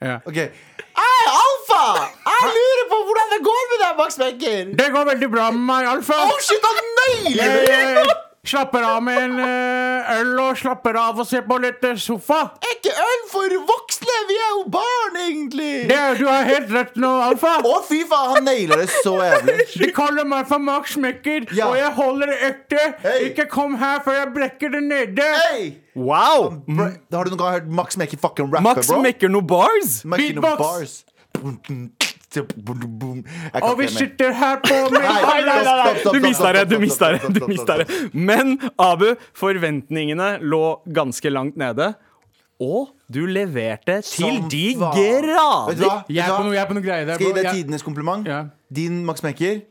S4: Ja.
S3: Ok. Hei, alfa! Jeg lurer på hvordan det går med deg, Max Becker.
S4: Det går veldig bra med meg, Alfa.
S3: Oh, shit, han nailer
S4: Jeg
S3: det!
S4: eh, slapper av med en eh, øl og slapper av og ser på litt eh, sofa.
S3: Ikke øl for voksne, vi er jo barn, egentlig.
S4: Det, du har helt rett nå, Alfa.
S3: Å, fy faen, han nailer det så jævlig.
S4: De kaller meg for Max Mekker,
S3: Ja.
S4: og jeg holder ekte.
S3: Hei.
S4: Ikke kom her før jeg brekker det nede.
S3: Hey!
S2: Wow!
S3: Bro, har du noen gang hørt Max Mekker fucking rappe,
S2: Mm. Max
S3: bro?
S2: mekker noe bars!
S3: Mac in the
S4: Beatbox.
S3: bars. Boom, boom, tsk, boom, boom, boom. Jeg kan
S4: Og vi
S3: ikke mer.
S4: sitter her på min
S3: Nei,
S2: Nei, nei, nei, nei.
S3: Stopp, stopp,
S2: Du
S3: stopp,
S2: mista det,
S3: stopp,
S2: du
S3: stopp,
S2: mista det.
S3: stopp,
S2: du
S3: stopp,
S2: mista det Men Abu, forventningene lå ganske langt nede. Og du leverte til
S3: Som
S2: de
S3: faen. Vet du
S2: grader!
S3: hva? Vet du
S4: Jeg er på
S3: hva?
S4: noe, jeg er på noe greier der.
S3: Skal jeg gi
S4: bro.
S3: deg
S4: Jeg-
S3: tidenes kompliment?
S4: Ja.
S3: Din Max Mekker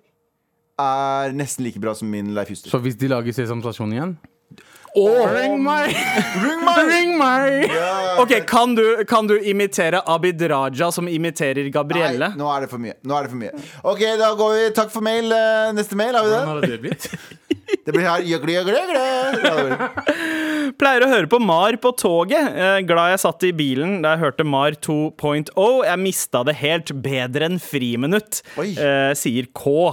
S3: er nesten like bra som min Leif Juster.
S4: Så hvis de lager Sesam Stasjon igjen
S2: Og
S4: Ring meg! Ring meg!
S2: OK, kan du, kan du imitere Abid Raja som imiterer Gabrielle?
S3: Nei, nå er det for mye. Nå er det for mye. Ok, da går vi. Takk for mail. Eh, Neste mail, har vi
S4: Hvordan
S3: det?
S4: hadde det blitt?
S3: Det blir her. Jøgle, jøgle, jøgle. Ja, det blir-
S2: Pleier å høre på Mar på toget. Eh, glad jeg satt i bilen da jeg hørte Mar 2.0. Jeg mista det helt. Bedre enn friminutt,
S3: Oi.
S2: eh, sier K.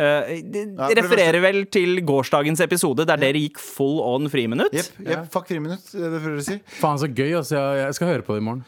S2: Eh, det
S3: Ja, for det
S2: refererer vel til gårsdagens episode der dere gikk full on friminutt.
S3: Jepp. jepp, Fuck friminutt, det prøver jeg å si.
S4: Faen, så gøy. Altså. Jeg, jeg skal høre på det i morgen.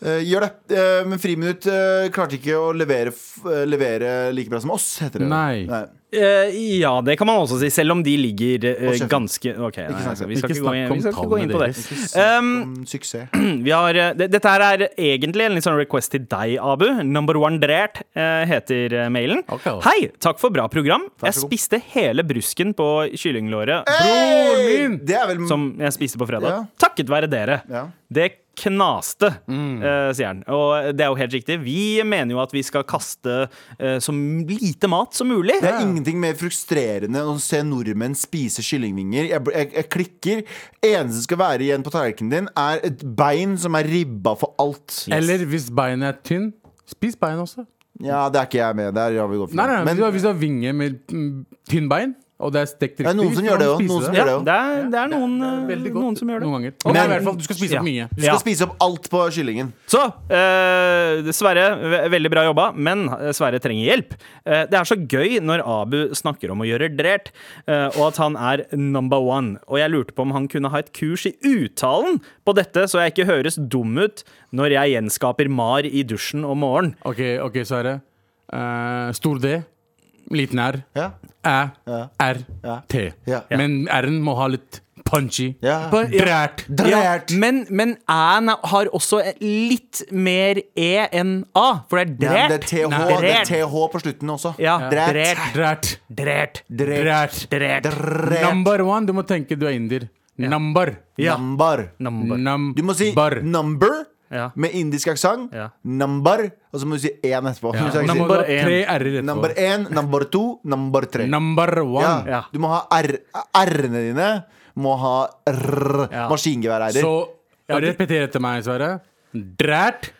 S3: Eh, gjør det. Eh, men Friminutt eh, klarte ikke å levere, f eh, levere like bra som oss, heter det.
S4: Nei.
S2: Eh, ja, det kan man også si, selv om de ligger eh,
S3: Og Sheffield.
S2: ganske Ok, nei, altså,
S3: snakk-
S2: vi skal
S4: ikke
S2: ikke gå inn,
S4: snakk
S2: vi skal
S4: om
S2: ikke gå inn på det.
S4: tallene
S2: Um,
S3: Mm, Suksess.
S2: Vi har, eh, det, dette her er egentlig en litt sånn request til deg, Abu. Number one drert eh, heter eh, mailen.
S4: Ok.
S2: Hei! Takk for bra program. Jeg
S3: så god.
S2: spiste hele brusken på kyllinglåret
S3: Hey!
S4: min!
S3: Det er vel
S2: som jeg spiste på fredag.
S3: Ja.
S2: Takket være dere.
S3: Ja.
S2: Det knaste, eh, sier han. Og det er jo helt riktig. Vi mener jo at vi skal kaste eh, så lite mat som mulig.
S3: Det er ingenting mer frustrerende enn å se nordmenn spise kyllingvinger. Jeg, jeg, jeg klikker. Eneste som skal være igjen på tallerkenen din, er et bein som er ribba for alt.
S4: Eller hvis beinet er tynn, spis bein også.
S3: Ja, det er ikke jeg med. Der har vi gått for
S4: Nei, nei, nei,
S3: Men
S4: hvis du har- Hvis du har vinge med mm, tynn bein, og det er stekt
S3: er
S4: riktig
S3: noen som
S4: så
S3: gjør
S4: kan
S3: det
S4: du
S3: også,
S4: spise
S3: noen som
S2: Ja,
S3: gjør det
S2: det
S3: også.
S2: er, det er noen, eh,
S4: Veldig godt.
S2: noen som gjør det.
S4: Noen ganger. Og
S3: Men-
S4: i hvert fall, du skal spise
S2: Ja.
S4: opp mye.
S3: du skal spise opp alt på kyllingen.
S2: Så eh, Sverre, ve- veldig bra jobba, men eh, Sverre trenger hjelp. Eh, det er så gøy når Abu snakker om å gjøre drert, eh, og at han er number one. Og jeg lurte på om han kunne ha et kurs i uttalen på dette, så jeg ikke høres dum ut når jeg gjenskaper Mar i dusjen om morgenen.
S4: Ok, ok, Sverre. Eh, stor D, liten R.
S3: Ja.
S4: Æ,
S3: Ja.
S4: R, T.
S3: Ja.
S4: Men R-en må ha litt punchy.
S3: Ja.
S4: Drært.
S2: Ja,
S3: Drært.
S2: men men æ-en har også litt mer e enn a, for det
S3: Ja,
S2: er
S3: det er
S2: drert.
S3: TH,
S2: Nei.
S3: det er TH på slutten også.
S2: Ja,
S3: Drært.
S2: drert.
S4: Drært.
S2: Drert.
S4: Drært.
S2: Drert.
S3: Drært.
S4: Number one, du må tenke du er indier. Number.
S2: Ja.
S3: Nambar.
S2: Number.
S4: Number.
S3: Du må si number
S2: Ja.
S3: med indisk aksent.
S2: Ja.
S3: Nambar. Og så må du si én etterpå.
S4: Ja.
S3: Du skal ikke si
S4: Number
S2: Number en.
S4: Tre R-er etterpå.
S3: Number én, number to, number tre.
S4: Number
S3: ja.
S4: one.
S2: Ja.
S3: Du må ha R- R-ene dine. Må ha r
S2: Ja.
S3: maskingeværeirer.
S4: Så repeter etter meg, Sverre. Drært.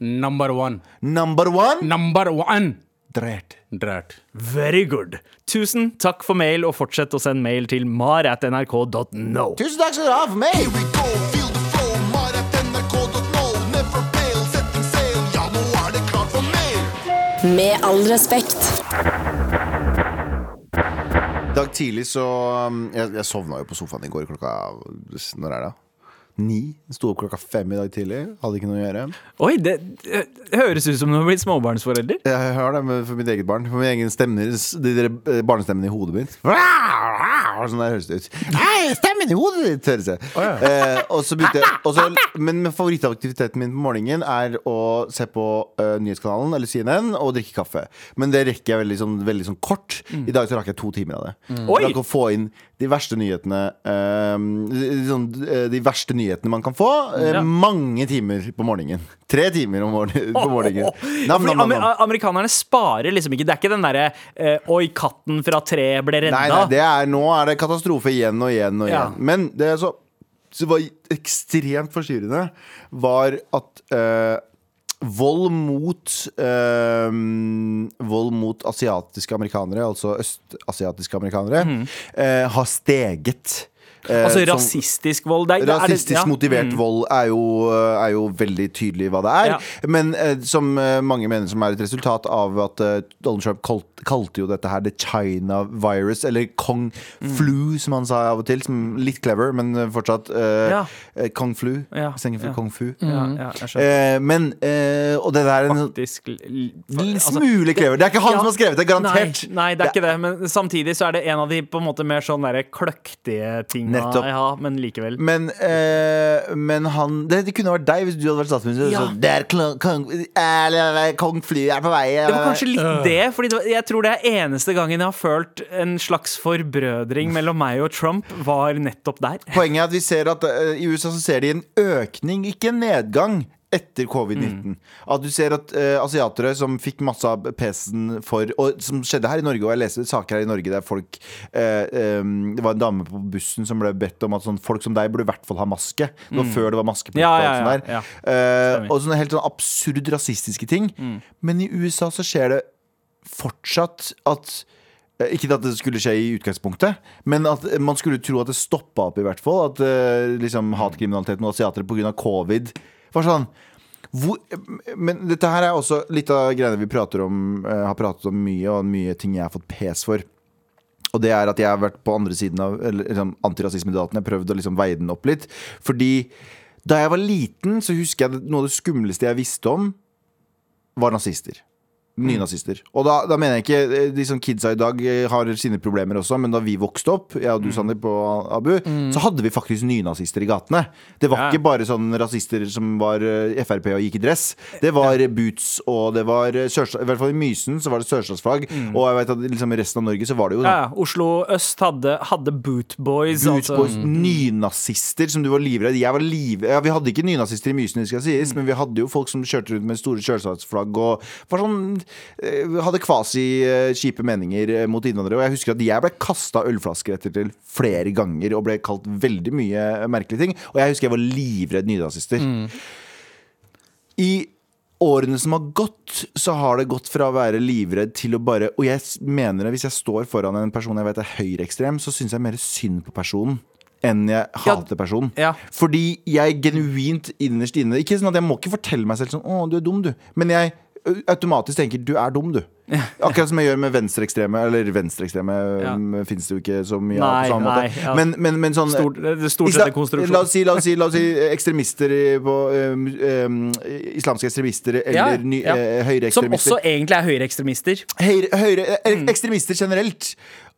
S4: Number one.
S3: Number one
S4: Number one.
S3: Drert.
S4: Drært.
S2: Very good. Tusen takk for mail, og fortsett å sende mail til mar.nrk.no.
S3: Tusen takk skal dere ha for meg!
S5: Here we go, feel the flow, mar at nrk.no. Never fail, setting sail, ja nå er det klart for mer.
S1: Med all respekt.
S3: I dag tidlig så um, Jeg, jeg sovna jo på sofaen i går klokka Når er det? Ni. Sto opp klokka fem i dag tidlig. Hadde ikke noe å gjøre.
S2: Oi, det, det høres ut som du har blitt småbarnsforelder.
S3: Jeg hører det med, for mitt eget barn. For min egen stemmer, s- de der eh, barnestemmene i hodet mitt. Sånn der høres det ut. Hei, stemmen i hodet ditt! Høres det. Eh, og så begynte jeg og så- Men favorittaktiviteten min på morgenen er å se på eh, nyhetskanalen eller CNN og drikke kaffe. Men det rekker jeg veldig sånn, veldig sånn kort. I dag så rakk jeg to timer av det.
S2: Mm. Oi!
S3: Jeg rakk å få inn de verste nyhetene eh, de, ehm, sånn, eh, de verste nyhetene man kan få. eh,
S2: Ja.
S3: Mange timer på morgenen. Tre timer om morgen- på morgenen.
S2: Ja,
S3: Nam,
S2: fordi
S3: nam, nam,
S2: amer-
S3: nam.
S2: Amerikanerne sparer liksom ikke. Det er ikke den derre eh, 'oi, katten fra treet ble redda'.
S3: Nei, nei, det er, nå er det katastrofe igjen og igjen og
S2: Ja.
S3: igjen. Men det som var ekstremt forstyrrende, var at eh, vold mot eh, Vold mot asiatiske amerikanere, altså østasiatiske amerikanere, eh, har steget. Eh,
S2: Mm. altså
S3: som-
S2: rasistisk vold. Det er, det er-
S3: Rasistisk
S2: ja. Mm.
S3: motivert vold er jo, eh, er jo veldig tydelig hva det er.
S2: Ja.
S3: Men eh, som eh, mange mener som er et resultat av at eh, Donald Trump kalt, kalte jo dette her the China virus, eller Kong
S2: Mm.
S3: flu, som han sa av og til. Som litt clever, men eh, fortsatt eh,
S2: Ja.
S3: eh, Kong flu.
S2: Ja,
S3: Istedenfor
S2: ja. Mm.
S3: Kong fu.
S2: Ja, ja, jeg skjønner.
S3: Eh, men eh, Og det der er en
S2: Faktisk l-
S3: l-
S2: altså-
S3: smule clever. Det er ikke han som har skrevet det, garantert.
S2: Nei, nei, det er ikke det. Men samtidig så er det en av de på en måte mer sånn derre kløktige tinga.
S3: Nettopp.
S2: Ja, men likevel.
S3: Men, eh, men han det, det kunne vært deg hvis du hadde vært statsminister.
S2: Ja.
S3: Så, der kong, kong, eh, kong Fly er på vei.
S2: Det var kanskje litt det, Fordi det var- jeg tror det er eneste gangen jeg har følt en slags forbrødring mellom meg og Trump, var nettopp der.
S3: Poenget er at vi ser at eh, i USA så ser de en økning, ikke en nedgang. Etter covid-19.
S2: Mm.
S3: At du ser at eh, asiatere som fikk masse av pesen for Og som skjedde her i Norge, og jeg leser saker her i Norge der folk eh, eh, Det var en dame på bussen som ble bedt om at sånn, folk som deg burde i hvert fall ha maske. Det var før det var maskeplikt.
S2: Mm. Ja,
S3: og
S2: ja,
S3: alt
S2: ja,
S3: sånt der.
S2: ja.
S3: Eh,
S2: Stemmer.
S3: og sånne helt sånn absurd rasistiske ting. Men i USA så skjer det fortsatt at eh, Ikke at det skulle skje i utgangspunktet, men at man skulle tro at det stoppa opp, i hvert fall. At eh, liksom hatkriminaliteten mot asiatere pga. covid var sånn hvor, men dette her er også litt av greiene vi prater om, eh, har pratet om mye, og mye ting jeg har fått pes for. Og det er at jeg har vært på andre siden av eller, liksom, antirasismedebatten. Jeg har prøvd å liksom, veie den opp litt. Fordi da jeg var liten, så husker jeg at noe av det skumleste jeg visste om, var nazister. Nynazister. Og da, da mener jeg ikke eh, De som kidsa i dag eh, har sine problemer også, men da vi vokste opp, jeg og du, Sandeep og Abu, så hadde vi faktisk nynazister i gatene. Det var
S2: Ja.
S3: ikke bare sånn rasister som var eh, Frp og gikk i dress. Det var eh, boots, og det var eh, Sørsta- I hvert fall i Mysen så var det sørstatsflagg, og jeg vet at liksom, i resten av Norge så var det jo sånn
S2: Ja, ja, Oslo øst hadde, hadde Bootboys.
S3: Boot Boys,
S2: Altså.
S3: nynazister som du var livredd. Jeg var liv... ja, vi hadde ikke nynazister i Mysen, det skal sies, men vi hadde jo folk som kjørte rundt med store kjølestatsflagg og var sånn, eh, hadde kvasi-kjipe meninger eh, mot innvandrere. Og jeg husker at jeg ble kasta ølflasker etter til flere ganger og ble kalt veldig mye merkelige ting. Og jeg husker jeg var livredd nynazister. I årene som har gått, så har det gått fra å være livredd til å bare Og jeg s- mener det, hvis jeg står foran en person jeg vet er høyreekstrem, så syns jeg mer synd på personen. Enn jeg hater personen.
S2: ja.
S3: Fordi jeg genuint innerst inne Ikke sånn at jeg må ikke fortelle meg selv sånn Å, du er dum, du. Men jeg ø, automatisk tenker du er dum, du. Akkurat som jeg gjør med venstreekstreme. Eller venstreekstreme
S2: Ja.
S3: ja. fins det jo ikke så mye av
S2: Nei,
S3: på samme
S2: nei,
S3: måte.
S2: ja.
S3: Men, men, men sånn
S2: Stort, det er stort sett en
S3: Isla-
S2: konstruksjon.
S3: La oss si, la oss si, la oss si eh, ekstremister i- på eh, mu- eh, Islamske ekstremister eller
S2: Ja,
S3: ny-
S2: ja.
S3: eh,
S2: Som også
S3: høyreekstremister.
S2: egentlig er høyreekstremister.
S3: Høyre, høyre, eh,
S2: Mm.
S3: ekstremister generelt.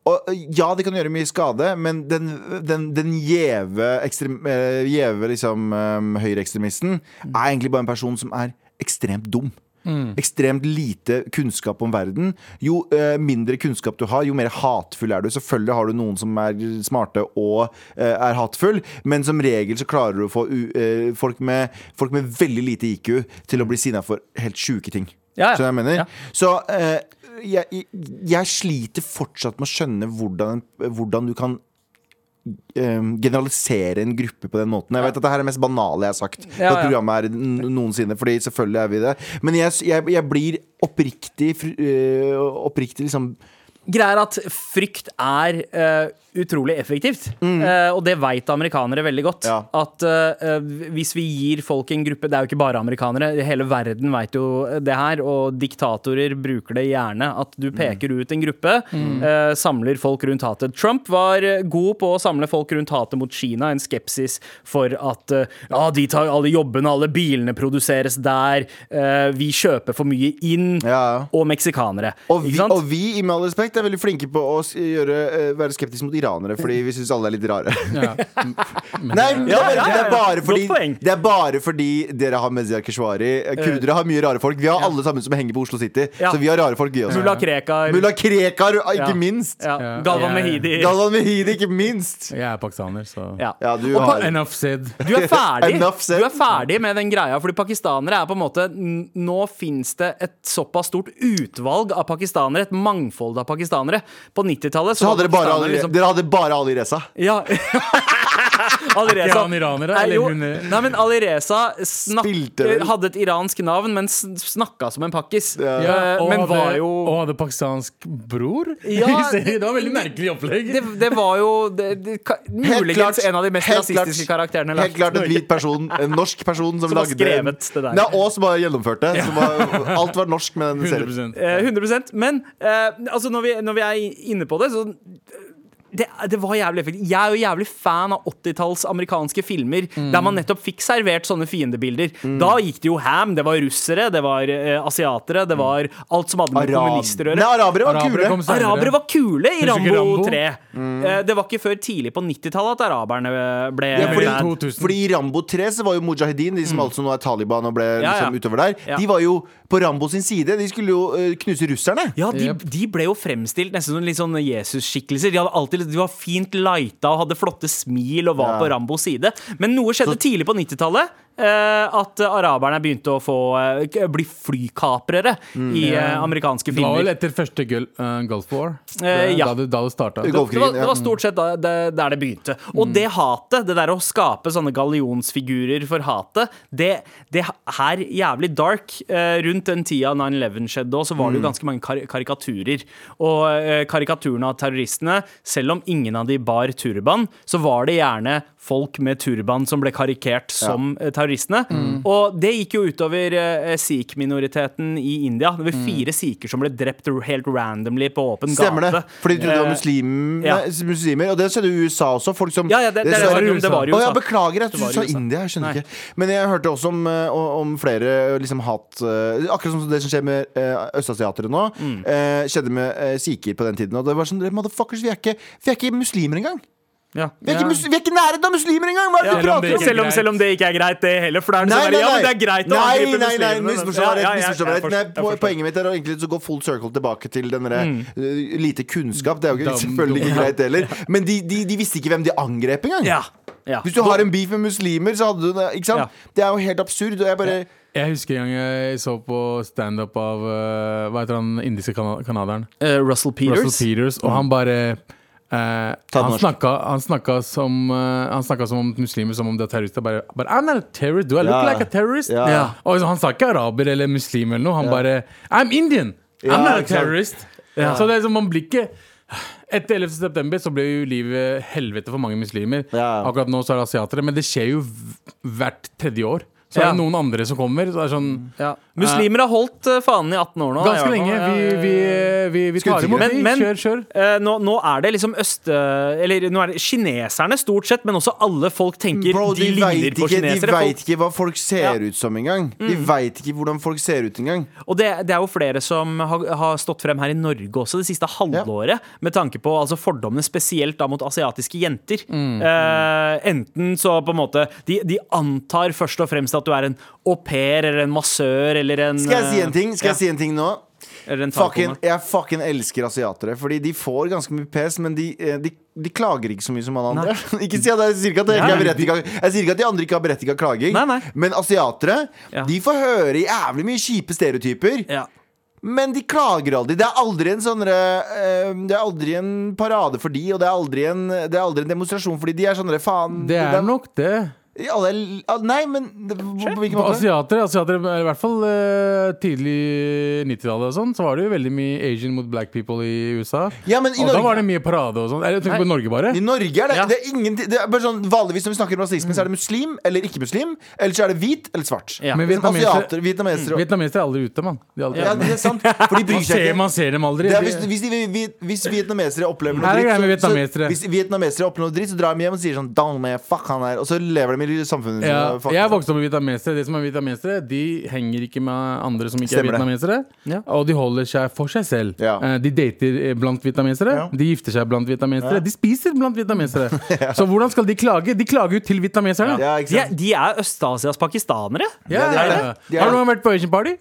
S3: Og eh, ja, det kan gjøre mye skade, men den, den, den gjeve ekstrem- eh, gjeve, liksom, eh, høyreekstremisten
S2: Mm.
S3: er egentlig bare en person som er ekstremt dum. Ekstremt lite kunnskap om verden. Jo eh, mindre kunnskap du har, jo mer hatefull er du. Selvfølgelig har du noen som er smarte og eh, er hatefull, men som regel så klarer du å få u, eh, folk, med, folk med veldig lite IQ til å bli sinna for helt sjuke ting.
S2: Ja, ja.
S3: Skjønner du hva jeg mener?
S2: Ja.
S3: Så eh, jeg, jeg, jeg sliter fortsatt med å skjønne hvordan, hvordan du kan eh, generalisere en gruppe på den måten. Jeg vet at det her er det mest banale jeg har sagt på
S2: Ja,
S3: et
S2: ja.
S3: program her n- noensinne. Fordi selvfølgelig er vi det. Men jeg, jeg, jeg blir oppriktig, fr- eh, oppriktig liksom
S2: Greia er at frykt er eh, utrolig effektivt. Eh, og det veit amerikanere veldig godt.
S3: Mm. Ja.
S2: At eh, hvis vi gir folk en gruppe Det er jo ikke bare amerikanere. Hele verden veit jo det her. Og diktatorer bruker det gjerne. At
S3: Mm.
S2: du peker ut en gruppe, eh, samler folk rundt hatet. Trump var eh, god på å samle folk rundt hatet mot Kina. En skepsis for at eh, ja, de tar alle jobbene, alle bilene produseres der, eh, vi kjøper for mye inn.
S3: Ja, ja.
S2: Og meksikanere.
S3: Og vi,
S2: ikke sant?
S3: og vi, i med all respekt, er veldig flinke på å s- gjøre, eh, være skeptiske mot iranere, fordi vi syns alle er litt rare.
S4: Ja.
S3: Nei,
S2: Ja,
S3: men det,
S2: ja,
S3: er, det,
S2: ja,
S3: er
S2: ja.
S3: bare fordi,
S2: Godt poeng. Eh.
S3: det er bare fordi dere har Mezia Keshvari. Eh, Kurdere har mye rare folk. Vi har alle sammen som henger på Oslo City.
S2: Ja.
S3: Så vi har rare folk, vi også.
S2: Mulla Krekar.
S3: Mulla Krekar, ikke
S2: Ja.
S3: minst.
S2: ja.
S4: Ja.
S2: Galvan
S4: Ja, ja.
S2: Mehidi.
S3: Galvan Mehidi, ikke minst.
S4: Jeg er pakistaner, så Ah,
S2: Ja.
S3: Ja, du
S2: Og pa-
S3: har
S4: Enough said.
S2: Du er ferdig
S3: Enough said.
S2: Du er ferdig med den greia, fordi pakistanere er på en måte n- Nå fins det et såpass stort utvalg av pakistanere, et mangfold av pakistanere. På 90-tallet
S3: Så hadde dere bare
S2: pakistanere liksom-
S3: Ali, dere hadde bare Ali Reza.
S2: ja. Ali Reza-
S4: Ikke han iraner, da,
S2: Nei,
S4: eller
S2: jo.
S4: hun-
S2: Nei, men Ali Reza snak-
S3: Spilte vel.
S2: hadde et iransk navn, men s- snakka som en pakkis.
S4: Ja,
S2: Eh,
S4: og
S2: men
S4: hadde-
S2: var jo
S4: Og hadde pakistansk bror?
S2: Ja,
S4: det var veldig merkelig opplegg.
S2: det, det var jo det, det, ka- muligens en av de mest
S3: helt klart-
S2: rasistiske karakterene
S3: Helt klart en hvit person, en norsk person som,
S2: Som har
S3: lagde
S2: skrevet det der.
S3: Nei, og som har gjennomført det. Som har, alt var norsk med den serien.
S4: 100
S2: Eh, 100 Men eh, altså når, vi, når vi er inne på det, så eh, det, det var jævlig effektivt. Jeg er jo jævlig fan av 80-talls amerikanske filmer
S4: Mm.
S2: der man nettopp fikk servert sånne fiendebilder. Da gikk det jo ham. Det var russere, det var eh, asiatere,
S4: Mm.
S2: det var alt som hadde med kommunister å
S3: Nei,
S2: gjøre.
S3: arabere var
S4: Arabere
S3: kule.
S4: kom senere.
S2: Arabere var kule i
S4: Husker du
S2: Rambo,
S4: ikke Rambo? Mm.
S2: 3. Eh, Det var ikke før tidlig på 90-tallet at araberne eh, ble
S4: Ja, fordi-
S2: bad.
S4: 2000.
S3: Fordi i Rambo 3 så var jo mujahedin, de som altså nå er Taliban og ble
S2: Mm. Ja, ja.
S3: liksom utover der,
S2: Ja.
S3: de var jo på Rambo sin side. De skulle jo eh, knuse russerne.
S2: Ja, de,
S4: Jep.
S2: de ble jo fremstilt nesten som litt sånn Jesus-skikkelser. De, hadde alltid, de var fint lighta og hadde flotte smil og var
S3: Ja.
S2: på Rambos side. Men noe skjedde tidlig på 90-tallet. eh, at araberne begynte å få eh, k- bli flykaprere i eh, amerikanske
S4: Det var vel
S2: filmer.
S4: etter første gul, eh, Gulf War.
S2: Eh, ja.
S4: Da det, da det starta.
S3: Det
S2: Det,
S3: går-
S4: Det
S2: det, var,
S3: Golfkrigen, ja. Mm.
S2: det var stort sett da, det, der det begynte. Og det hatet, det der å skape sånne gallionsfigurer for hatet, det, det er jævlig dark. Eh, rundt den tida 9-11 skjedde, og så var
S3: Mm.
S2: det jo ganske mange kar karikaturer. Og eh, karikaturene av terroristene, selv om ingen av de bar turban, så var det gjerne folk med turban som ble karikert som eh, terroristene.
S3: Mm.
S2: Og det gikk jo utover eh, sikh-minoriteten i India. Det var fire sikher som ble drept helt randomly på åpen
S3: Mm. Stemmer det.
S2: gate.
S3: Fordi de trodde det var
S2: Eh,
S3: muslim,
S2: ja.
S3: nei, muslimer. Og det skjedde i USA også. Folk som
S2: ja, ja, det, det,
S3: som-
S2: det, var, jo- det var jo
S3: Å, ja,
S2: USA.
S3: beklager at du
S2: Det var i
S3: sa
S2: USA.
S3: India. Jeg
S2: Nei.
S3: skjønner ikke. Men jeg hørte også om, eh, om flere liksom, hat eh, Akkurat som det som skjer med eh, østasiatere nå,
S2: Mm.
S3: eh, skjedde med eh, sikher på den tiden. Og det var sånn Motherfuckers, vi er ikke, vi er ikke muslimer engang!
S2: Ja.
S3: Vi er ikke, mus vi er ikke nære av muslimer engang! Hva er det
S4: Ja,
S3: du
S4: selv om
S3: prater
S4: det
S3: om?
S4: ikke er
S2: Selv om,
S4: greit.
S2: selv om det ikke er greit, det heller. For det er det sånn, der, ja, men det er greit å
S3: nei,
S2: angripe
S3: nei, nei,
S2: muslimene, men-
S3: misforstå meg
S2: Ja, ja,
S3: rett.
S2: ja,
S3: misforstå
S2: jeg
S3: meg rett.
S2: forstår-
S3: Nei,
S2: jeg
S3: po-
S2: forstår. Mm.
S3: Poenget mitt er å egentlig så gå full circle tilbake til den derre uh, lite kunnskap. Det er jo ikke,
S4: Dum,
S3: selvfølgelig ikke
S4: dum.
S3: greit heller. Men de, de, de visste ikke hvem de angrep engang.
S2: Ja. ja.
S3: Hvis du har en beef med muslimer, så hadde du det. Ikke
S2: Ja.
S3: sant? Det er jo helt absurd. Og jeg bare
S4: Jeg husker en gang jeg så på standup av eh, Hva heter han indiske kana kanaderen?
S2: Eh, Russell Peters.
S4: Russell Peters, og han bare eh,
S3: Ta
S4: han,
S3: norsk.
S4: snakka, han, snakka som, eh, han snakka som om muslimer som om det er terrorister. Bare, bare I'm not a terrorist, do I look
S3: Ja.
S4: like a terrorist?
S3: Ja.
S2: Ja.
S4: Og så han sa ikke araber eller muslim eller noe, han bare I'm Indian,
S3: Ja,
S4: I'm not a
S3: ikke sant.
S4: terrorist. Så det er som man blir ikke etter 11. september så ble jo livet helvete for mange muslimer.
S3: Ja.
S4: Akkurat nå så er det asiatere, men det skjer jo v- hvert tredje år. Så
S2: Ja.
S4: er det noen andre som kommer. Så det er sånn
S2: Ja. Muslimer har holdt eh, fanen i 18 år nå. i hvert
S4: Ganske
S2: fall.
S4: lenge.
S2: Ja,
S4: Vi,
S2: ja, ja.
S4: vi, vi, vi tar imot
S2: Men,
S4: de.
S2: men
S4: Kjør, kjør.
S2: eh, nå, nå er det liksom øst... Eller nå er det kineserne stort sett, men også alle folk tenker
S3: Bro,
S2: de,
S3: de
S2: ligner
S3: veit
S2: på
S3: ikke, de
S2: kinesere.
S3: vet
S2: Folk,
S3: ikke hva folk ser
S2: Ja. Mm.
S3: ut som engang. De veit ikke hvordan folk ser ut engang.
S2: og det, det er jo flere som har, har stått frem her i Norge også det siste halvåret, med tanke på altså, fordommene spesielt da mot asiatiske jenter.
S3: Mm.
S2: Eh, enten så på en måte de, de antar først og fremst at du er en au pair eller en massør eller en
S3: Skal jeg si en
S2: eh,
S3: ting? Skal jeg
S2: ja,
S3: si en ting nå?
S2: eller en
S3: Fucking,
S2: takone.
S3: jeg fucking elsker asiatere, Fordi de får ganske mye pes, men de, eh, de, de klager ikke så mye som alle andre. ikke si at Jeg sier ikke at, jeg ikke har
S2: Nei.
S3: berettiget- jeg sier ikke at de andre ikke har berettiga klaging,
S2: Nei, nei.
S3: men asiatere
S2: Ja.
S3: De får høre jævlig mye kjipe stereotyper,
S2: Ja.
S3: men de klager aldri. Det er aldri en sånn eh, Det er aldri en parade for de, og det er aldri en, det er aldri en demonstrasjon fordi de er sånn eh, faen
S4: Det er nok det.
S3: alle er l- ah, Nei, men det- på, på hvilken måte?
S4: Asiater, asiater, i hvert fall eh, tidlig 90-tallet og sånn, så var det jo veldig mye Asian mot black people i USA.
S3: Ja, men i
S4: og da
S3: Norge-
S4: var det mye parade og sånn. Eller, Jeg tenker på Norge, bare.
S3: I Norge er det,
S2: Ja.
S3: det er ingenting det er bare sånn, Vanligvis når vi snakker om rasisme, så er det muslim eller ikke muslim. Eller så er det hvit eller svart.
S2: Ja.
S4: Men
S3: Liksom
S4: vietnamesere-
S3: asiater, vietnamesere og-
S4: Vietnamesere er aldri ute, mann. De er aldri
S3: Ja,
S4: ute.
S3: det er sant. For de bryr
S4: man,
S3: seg
S4: ser,
S3: ikke.
S4: man ser dem aldri.
S3: Det er hvis,
S4: De-
S3: hvis, de, vi- hvis vietnamesere opplever noe
S4: Her er
S3: dritt,
S4: greia
S3: så,
S4: med
S3: så,
S4: vietnamesere.
S3: hvis vietnamesere opplever noe dritt, så drar de hjem og sier sånn Down med, fuck han her Og så lever de problemer i samfunnet.
S4: Ja,
S3: faktisk.
S4: jeg vokste opp med vietnamesere. De som er vietnamesere, de henger ikke med andre som ikke
S3: Stemmer
S4: er
S3: det.
S4: vietnamesere.
S2: Ja.
S4: Og de holder seg for seg selv.
S3: Ja.
S4: Eh, De dater eh, blant vietnamesere.
S3: Ja.
S4: De gifter seg blant vietnamesere. De spiser blant vietnamesere. Så hvordan skal de klage? De klager jo til vietnameserne.
S3: Ja, ikke
S2: De er,
S3: sant?
S2: de er Øst-Asias pakistanere.
S3: Ja,
S4: Ja,
S3: de er
S4: ja,
S3: det.
S4: ja.
S3: De er
S4: Har
S3: det.
S4: du noen gang vært på Asian Party?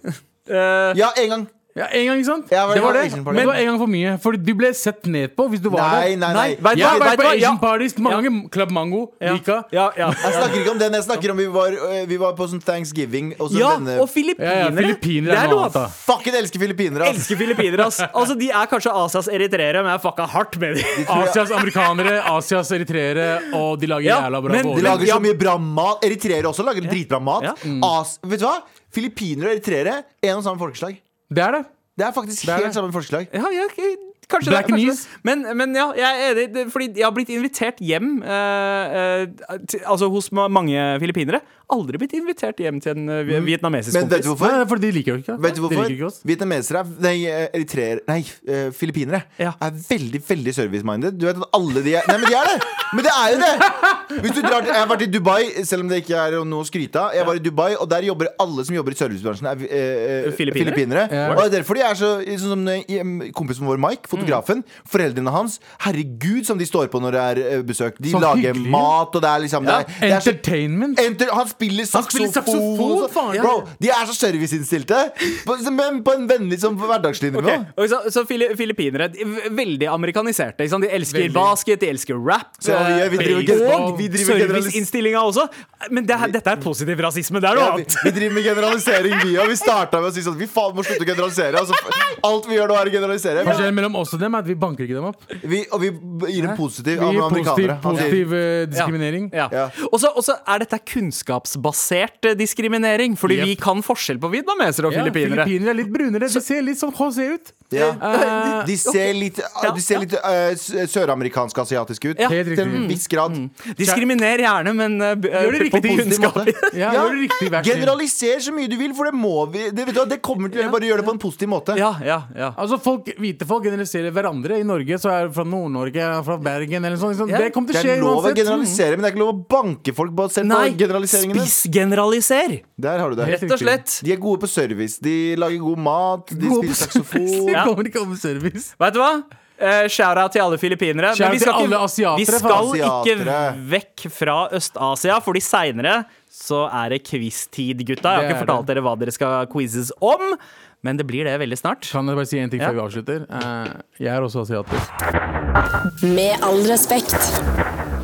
S2: Eh,
S3: Ja, en gang.
S4: Ja, en gang, ikke sant?
S3: Ja, hver
S4: det var
S3: gang
S4: det.
S3: Asian Party.
S4: Men det var en gang for mye. Fordi du ble sett ned på hvis du var
S3: Nei, nei,
S4: der.
S3: nei.
S2: Nei, vet du
S4: Jeg
S2: hva?
S4: har vært på
S2: hva? Ja.
S4: Asian Parties mange ganger. Club Mango,
S2: ja.
S4: Vika.
S2: Ja, ja.
S3: Jeg snakker ikke om den. Jeg snakker om Vi var, øh, vi var på sånn thanksgiving. Og så
S2: ja,
S3: denne
S2: og filippinere.
S4: Ja, ja, filippinere
S2: det er
S4: er noe
S2: noe
S4: annet, da.
S3: Fucken elsker filippinere, ass!
S2: Elsker filippinere, ass. Altså, de er kanskje Asias eritreere, men jeg fucka hardt med dem.
S4: Asias amerikanere, Asias eritreere, og de lager
S2: Ja,
S4: jævla bra
S2: men de
S3: De
S4: boller.
S3: lager
S2: ja.
S3: så mye bra mat. Eritreere også lager dritbra mat.
S2: Ja.
S3: As vet du hva? Filippinere og eritreere, én og samme folkeslag.
S4: Det er det.
S3: Det er faktisk
S4: er
S3: helt
S4: det.
S3: samme folkeslag.
S2: Ja, ja, ok, kanskje
S4: Black
S2: det, kanskje
S4: Knees.
S2: det. Men, men ja, jeg er enig. Det- Fordi jeg har blitt invitert hjem eh, eh, til, Altså hos ma- mange filippinere. Aldri blitt invitert hjem til en eh, vi- vietnamesisk
S3: Mm. Men vet
S2: kompis.
S3: du
S4: Nei,
S3: hvorfor?
S4: nei, for de liker jo ikke
S3: Vet du
S4: De
S3: hvorfor?
S4: liker ikke oss.
S3: Vietnamesere er, Nei, eh, eritreere Nei, eh, filippinere
S2: Ja.
S3: er veldig, veldig service-minded. Du vet at alle de er Nei, men de er det! Men det er jo det! Hvis du drar til, jeg har vært i Dubai, selv om det ikke er noe å skryte av. Jeg var i Dubai, og der jobber alle som jobber i servicebransjen, er eh, eh,
S2: Filippinere?
S3: filippinere.
S4: Ja.
S3: Og det er derfor de er så sånn som eh, kompisen vår Mike, fotografen, foreldrene hans Herregud, som de står på når det er eh, besøk. De
S4: Så
S3: lager
S4: Sånn hyggelig.
S3: mat, og det er liksom det er, det er så
S4: Entertainment.
S3: Enter, han spiller saksofon.
S4: spiller saksofon,
S3: og så-
S4: faen.
S3: Bro, de er så serviceinnstilte, på- men på en vennlig sånn hverdagslig nivå.
S2: Ok, og Så, så fili- filippinere de er veldig amerikaniserte. Ikke sant? De elsker
S4: Veldig.
S2: basket, de elsker rap.
S3: Så vi gjør- vi driver
S2: eh,
S3: general-
S2: og
S3: vi driver generalis-
S2: serviceinnstillinga også. Men det, her- dette er positiv rasisme. Det er noe
S3: Ja, vi,
S2: annet.
S3: vi driver med generalisering, vi òg. Vi starta med å si sånn Vi faen må slutte å generalisere. Altså, alt vi gjør nå, er å generalisere.
S4: Forskjellen mellom oss og dem er at vi banker ikke dem opp. Vi
S3: Vi, og vi gir en positiv ja,
S4: gir
S3: med
S4: positiv,
S3: amerikanere. altså. Han sier-
S4: positiv eh, diskriminering.
S2: Ja.
S3: Ja.
S2: Ja. Og så- Og så er dette kunnskapsbasert eh, diskriminering, fordi
S4: Jep.
S2: vi kan forskjell på vietnamesere og
S4: Ja,
S2: filippinere.
S4: Filippinere er litt brunere. De ser litt sånn HC ut. Eh,
S3: Ja. De ser litt,
S2: Ja,
S3: de ser litt eh, s- søramerikansk-asiatiske ut.
S2: Ja.
S4: Helt
S3: Til en
S4: riktig.
S3: viss grad.
S2: Diskriminer gjerne, men eh, b- eh,
S4: Gjør det
S2: på
S4: riktig,
S2: kunnskap.
S3: måte.
S4: Ja,
S3: Ja.
S4: Gjør det riktig, vær snill.
S3: Generaliser så mye du vil, for det må vi. Det, vet du, hva, det kommer til å bare gjøre det på en positiv måte.
S2: Ja, ja, ja.
S4: Altså folk, Hvite folk generaliserer hverandre. I Norge så er det fra Nord-Norge, fra Bergen eller sånn. sånn.
S2: Ja.
S4: Det kommer til
S3: Det
S4: å skje
S3: er lov å
S4: uansett.
S3: generalisere, men det er ikke lov å banke folk basert på
S2: Nei,
S3: generaliseringene.
S2: spissgeneraliser!
S3: Der har du det.
S2: Rett og slett.
S3: De er gode på service. De lager god mat, de
S4: Gode på
S3: spiller saksofon.
S4: Det
S2: Ja.
S4: kommer ikke om service.
S2: Vet du hva? Eh, Shout-out til alle filippinere.
S4: Shout-out
S2: vi skal,
S4: til
S2: ikke,
S4: alle asiatere,
S2: vi skal
S3: faen.
S2: ikke
S3: Asiatere.
S2: vekk fra Øst-Asia, fordi seinere så er det quiz-tid, gutta. Jeg har
S4: Det
S2: ikke
S4: er
S2: fortalt dere hva dere skal quizzes om, men det blir det veldig snart.
S4: Kan jeg bare si en ting
S2: Ja.
S4: før vi avslutter? Eh, jeg er også asiater.
S1: Med all respekt.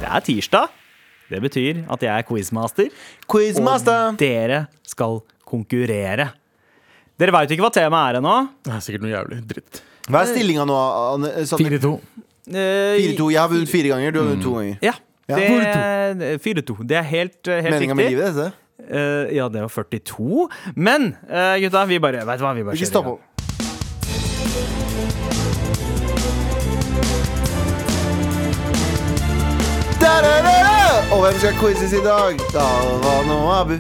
S2: Det er tirsdag. Det betyr at jeg er quizmaster.
S3: Quizmaster!
S2: Dere skal konkurrere. Dere veit ikke hva temaet er ennå.
S4: Det er sikkert noe jævlig dritt.
S3: Hva er stillinga nå? Anne? Sanne?
S4: 4-2.
S2: Eh,
S3: 4-2. Jeg har vunnet fire ganger, du har
S4: Mm.
S3: vunnet to ganger.
S2: Ja.
S3: Ja.
S2: det- 4-2. Det er helt, helt
S3: Meninga
S2: riktig.
S3: med livet, dette.
S2: Eh, ja, det var 42. Men eh, gutta, vi bare Vet du hva, vi bare
S3: Ikke
S2: kjører i
S3: stopp
S2: gang.
S3: opp. Da-da-da-da! Og hvem skal quizes i dag? Dalvan og Abu.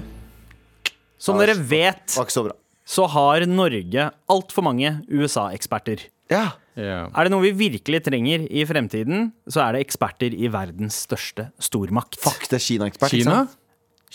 S2: Som dere vet,
S3: Var ikke så bra.
S2: så har Norge altfor mange USA-eksperter.
S3: Ja.
S4: Yeah.
S2: Er det noe vi virkelig trenger i fremtiden, så er det eksperter i verdens største stormakt.
S3: Fuck, det er Kina-ekspert. ikke
S4: Kina?
S3: sant?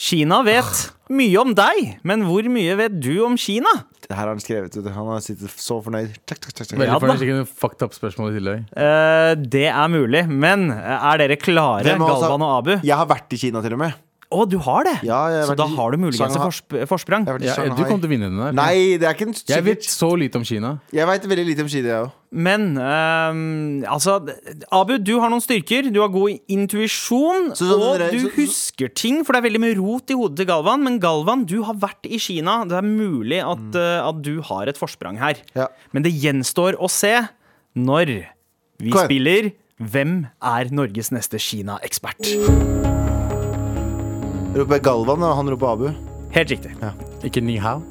S2: Kina vet mye om deg, men hvor mye vet du om Kina?
S3: Det her har han skrevet. vet du. Han har sittet så fornøyd. Takk, takk, takk, takk.
S4: Veldig
S2: Ja da.
S4: fornøyd. Sikkert en fucked up-spørsmål i tillegg.
S2: Eh, det er mulig, men eh, er dere klare,
S3: Hvem av oss har-
S2: Galvan og Abu?
S3: Jeg har vært i Kina til og med.
S2: Å, du har det?
S3: Ja, jeg har
S2: så
S3: vært
S2: da
S3: i
S2: har du muligens et
S3: Shanghai.
S2: forsp forsprang.
S3: Jeg har vært i
S4: Ja, du
S3: Shanghai.
S4: kommer til å vinne den der.
S3: Nei, det er ikke en
S4: Jeg vet
S3: sikkert.
S4: så lite om Kina.
S3: Jeg vet veldig lite om Kina, jeg òg.
S2: Men ehm, altså Abu, du har noen styrker. Du har god intuisjon.
S3: Så sånn
S2: og
S3: dere-
S2: du
S3: så- så-
S2: husker ting, for det er veldig mye rot i hodet til Galvan. Men Galvan, du har vært i Kina. Det er mulig at,
S3: Mm.
S2: eh, at du har et forsprang her.
S3: Ja.
S2: Men det gjenstår å se når vi
S3: Kom igjen.
S2: spiller Hvem er Norges neste Kina-ekspert?
S3: Roper jeg Galvan, og han roper Abu.
S2: Helt riktig.
S4: Ikke ni hao.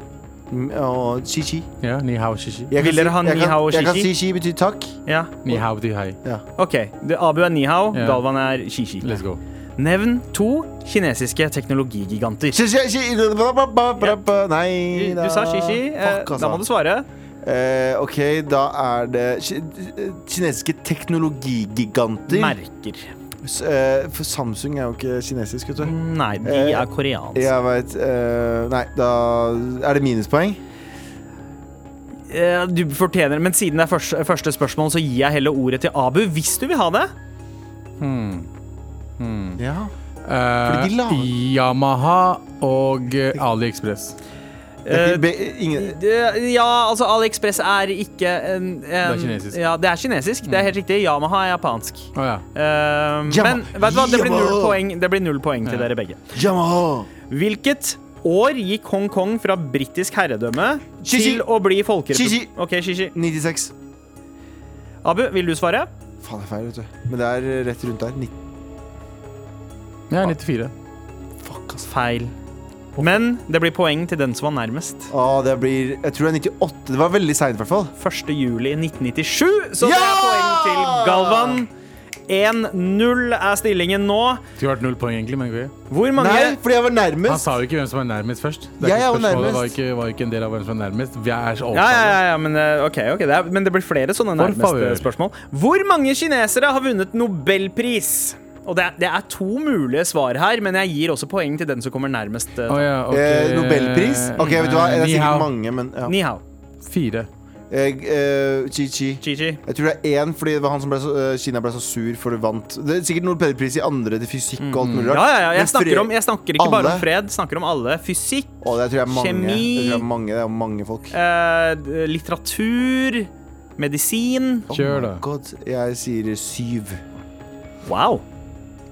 S3: Mm, Og Chi-Chi.
S4: Ja, ni hao shishi.
S3: Jeg kan
S2: Vil dere ha
S3: jeg
S2: ni
S3: kan-
S2: hao og
S3: Jeg kan
S2: chi-chi?
S3: si chi betyr takk.
S2: Ja,
S4: Ni hao di hai.
S2: OK. Det- Abu er Nihao,
S4: Ja.
S2: Galvan er Shishi.
S4: Let's go.
S2: Nevn to kinesiske teknologigiganter.
S3: Chi, chi, chi, bra, bra, bra, bra, bra. Nei
S2: Du sa Shishi. Eh,
S3: Fuck, altså.
S2: da må du svare.
S3: Eh, ok, da er det ki- eh, kinesiske teknologigiganter.
S2: Merker.
S3: S- eh, For Samsung er jo ikke kinesisk, vet du.
S2: Nei, de
S3: Eh,
S2: er koreanske.
S3: Jeg veit Nei, da er det minuspoeng.
S2: Eh, Du fortjener det, men siden det er første, første spørsmål, så gir jeg heller ordet til Abu hvis du vil ha det.
S3: Ja.
S4: Eh,
S3: de lager-
S4: Yamaha og eh, AliExpress.
S3: Det er
S2: Eh,
S3: ikke, be, ingen,
S2: Det- Ja, altså AliExpress er ikke en, en Det
S4: er kinesisk.
S2: Ja, det er kinesisk. Det er helt riktig. Yamaha er japansk.
S4: Å ja.
S2: Eh, men vet du hva, det blir null poeng, det blir null poeng til dere begge.
S3: Yamaha.
S2: Hvilket år gikk Hongkong fra britisk herredømme
S3: Xi-Xi.
S2: til å bli
S3: Xi-Xi.
S2: folkerepublikk? Ok, Xi-Xi.
S3: 96.
S2: Abu, vil du svare?
S3: Faen, det er feil, vet du. Men det er eh, rett rundt der. 90.
S4: Jeg er 94.
S2: Fuck, ass. Feil. Men det blir poeng til den som var nærmest.
S3: Ah, det blir Jeg tror det er 98. Det var veldig seint, i hvert fall.
S2: 1. juli 1997, så det
S3: Ja!
S2: er poeng til Galvan. 1-0 er stillingen nå.
S4: Skulle vært null poeng, egentlig, men ok.
S2: Hvor mange
S3: Nei, fordi jeg var
S4: Han
S3: nærmest.
S4: sa jo ikke hvem som er nærmest først. Det
S3: Jeg er
S4: ikke
S3: jo
S4: spørsmålet
S3: nærmest.
S4: Var ikke, var ikke en del av hvem som er nærmest. Vi er
S2: Ja, ja,
S4: så overtallige.
S2: ja, ja men, eh, ok, ok, det er, men det blir flere sånne
S4: For favør.
S2: nærmeste spørsmål. Hvor mange kinesere har vunnet Nobelpris? Og det er, det er to mulige svar her, men jeg gir også poeng til den som kommer nærmest. eh,
S4: Å ja, ok.
S3: Eh, Nobelpris? OK, vet du hva, det
S4: Eh,
S3: er
S4: Ni Hao.
S3: sikkert mange, men ja.
S2: Ni hao.
S4: Fire.
S3: Eh, eh, Chi-Chi.
S2: Chi-chi.
S3: Jeg tror det er én fordi det var han som ble så, eh, Kina ble så sur for det vant. Det er sikkert Nobelpris i andre til fysikk og alt mulig
S2: Mm. Ja,
S3: rart.
S2: ja, ja.
S3: Men
S2: Jeg snakker,
S3: fred-
S2: om, jeg snakker ikke bare
S3: Alle?
S2: om fred, snakker om alle. Fysikk,
S3: Å, det tror jeg er mange.
S2: Kjemi.
S3: Jeg tror det er mange, det er mange folk.
S2: eh, d- litteratur, medisin.
S4: Kjør, da.
S3: Oh my God, jeg sier syv.
S2: Wow.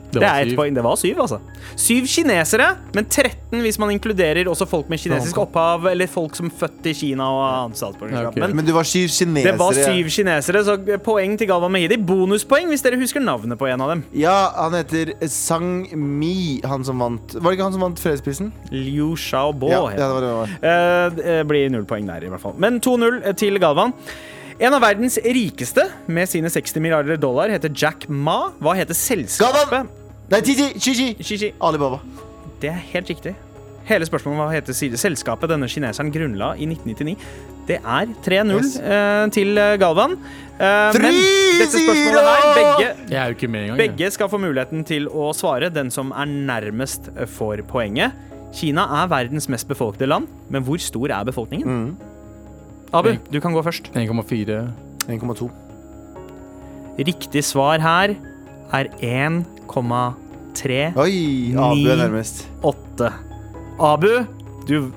S4: Det
S2: Det
S4: var
S2: er ett
S4: syv.
S2: poeng. Det var syv, altså. Syv kinesere, men 13 hvis man inkluderer også folk med kinesisk opphav, eller folk som er født i Kina og har annet
S4: Ja,
S2: statsborgerskap.
S4: ok.
S2: Men
S3: Men du var syv kinesere.
S2: det var syv kinesere, så poeng til Galvan Mehidi. Bonuspoeng hvis dere husker navnet på en av dem.
S3: Ja, han heter Sang Mi, han som vant Var det ikke han som vant fredsprisen?
S2: Liu Xiaobo.
S3: ja,
S2: heter
S3: ja, det var det. det var.
S2: Eh, Det blir null poeng der, i hvert fall. Men 2-0 til Galvan. En av verdens rikeste med sine 60 milliarder dollar heter Jack Ma. Hva heter selskapet?
S3: Galvan! Nei, Titi! Chi-Chi!
S2: Shishi.
S3: Alibaba.
S2: Det er helt riktig. Hele spørsmålet om hva heter side- selskapet denne kineseren grunnla i 1999. Det er 3-0
S3: Yes.
S2: eh, til eh, Galvan. Eh, men dette
S3: 3-0!
S2: spørsmålet her, begge,
S4: Jeg er jo ikke med engang. jeg.
S2: begge skal få muligheten til å svare. Den som er nærmest, eh, får poenget. Kina er verdens mest befolkede land, men hvor stor er befolkningen?
S3: Mm.
S2: Abu, du kan gå først.
S4: 1,4.
S3: 1,2.
S2: Riktig svar her er 1,3.
S3: Oi! Abu er
S2: Ni.
S3: nærmest.
S2: åtte. Abu, du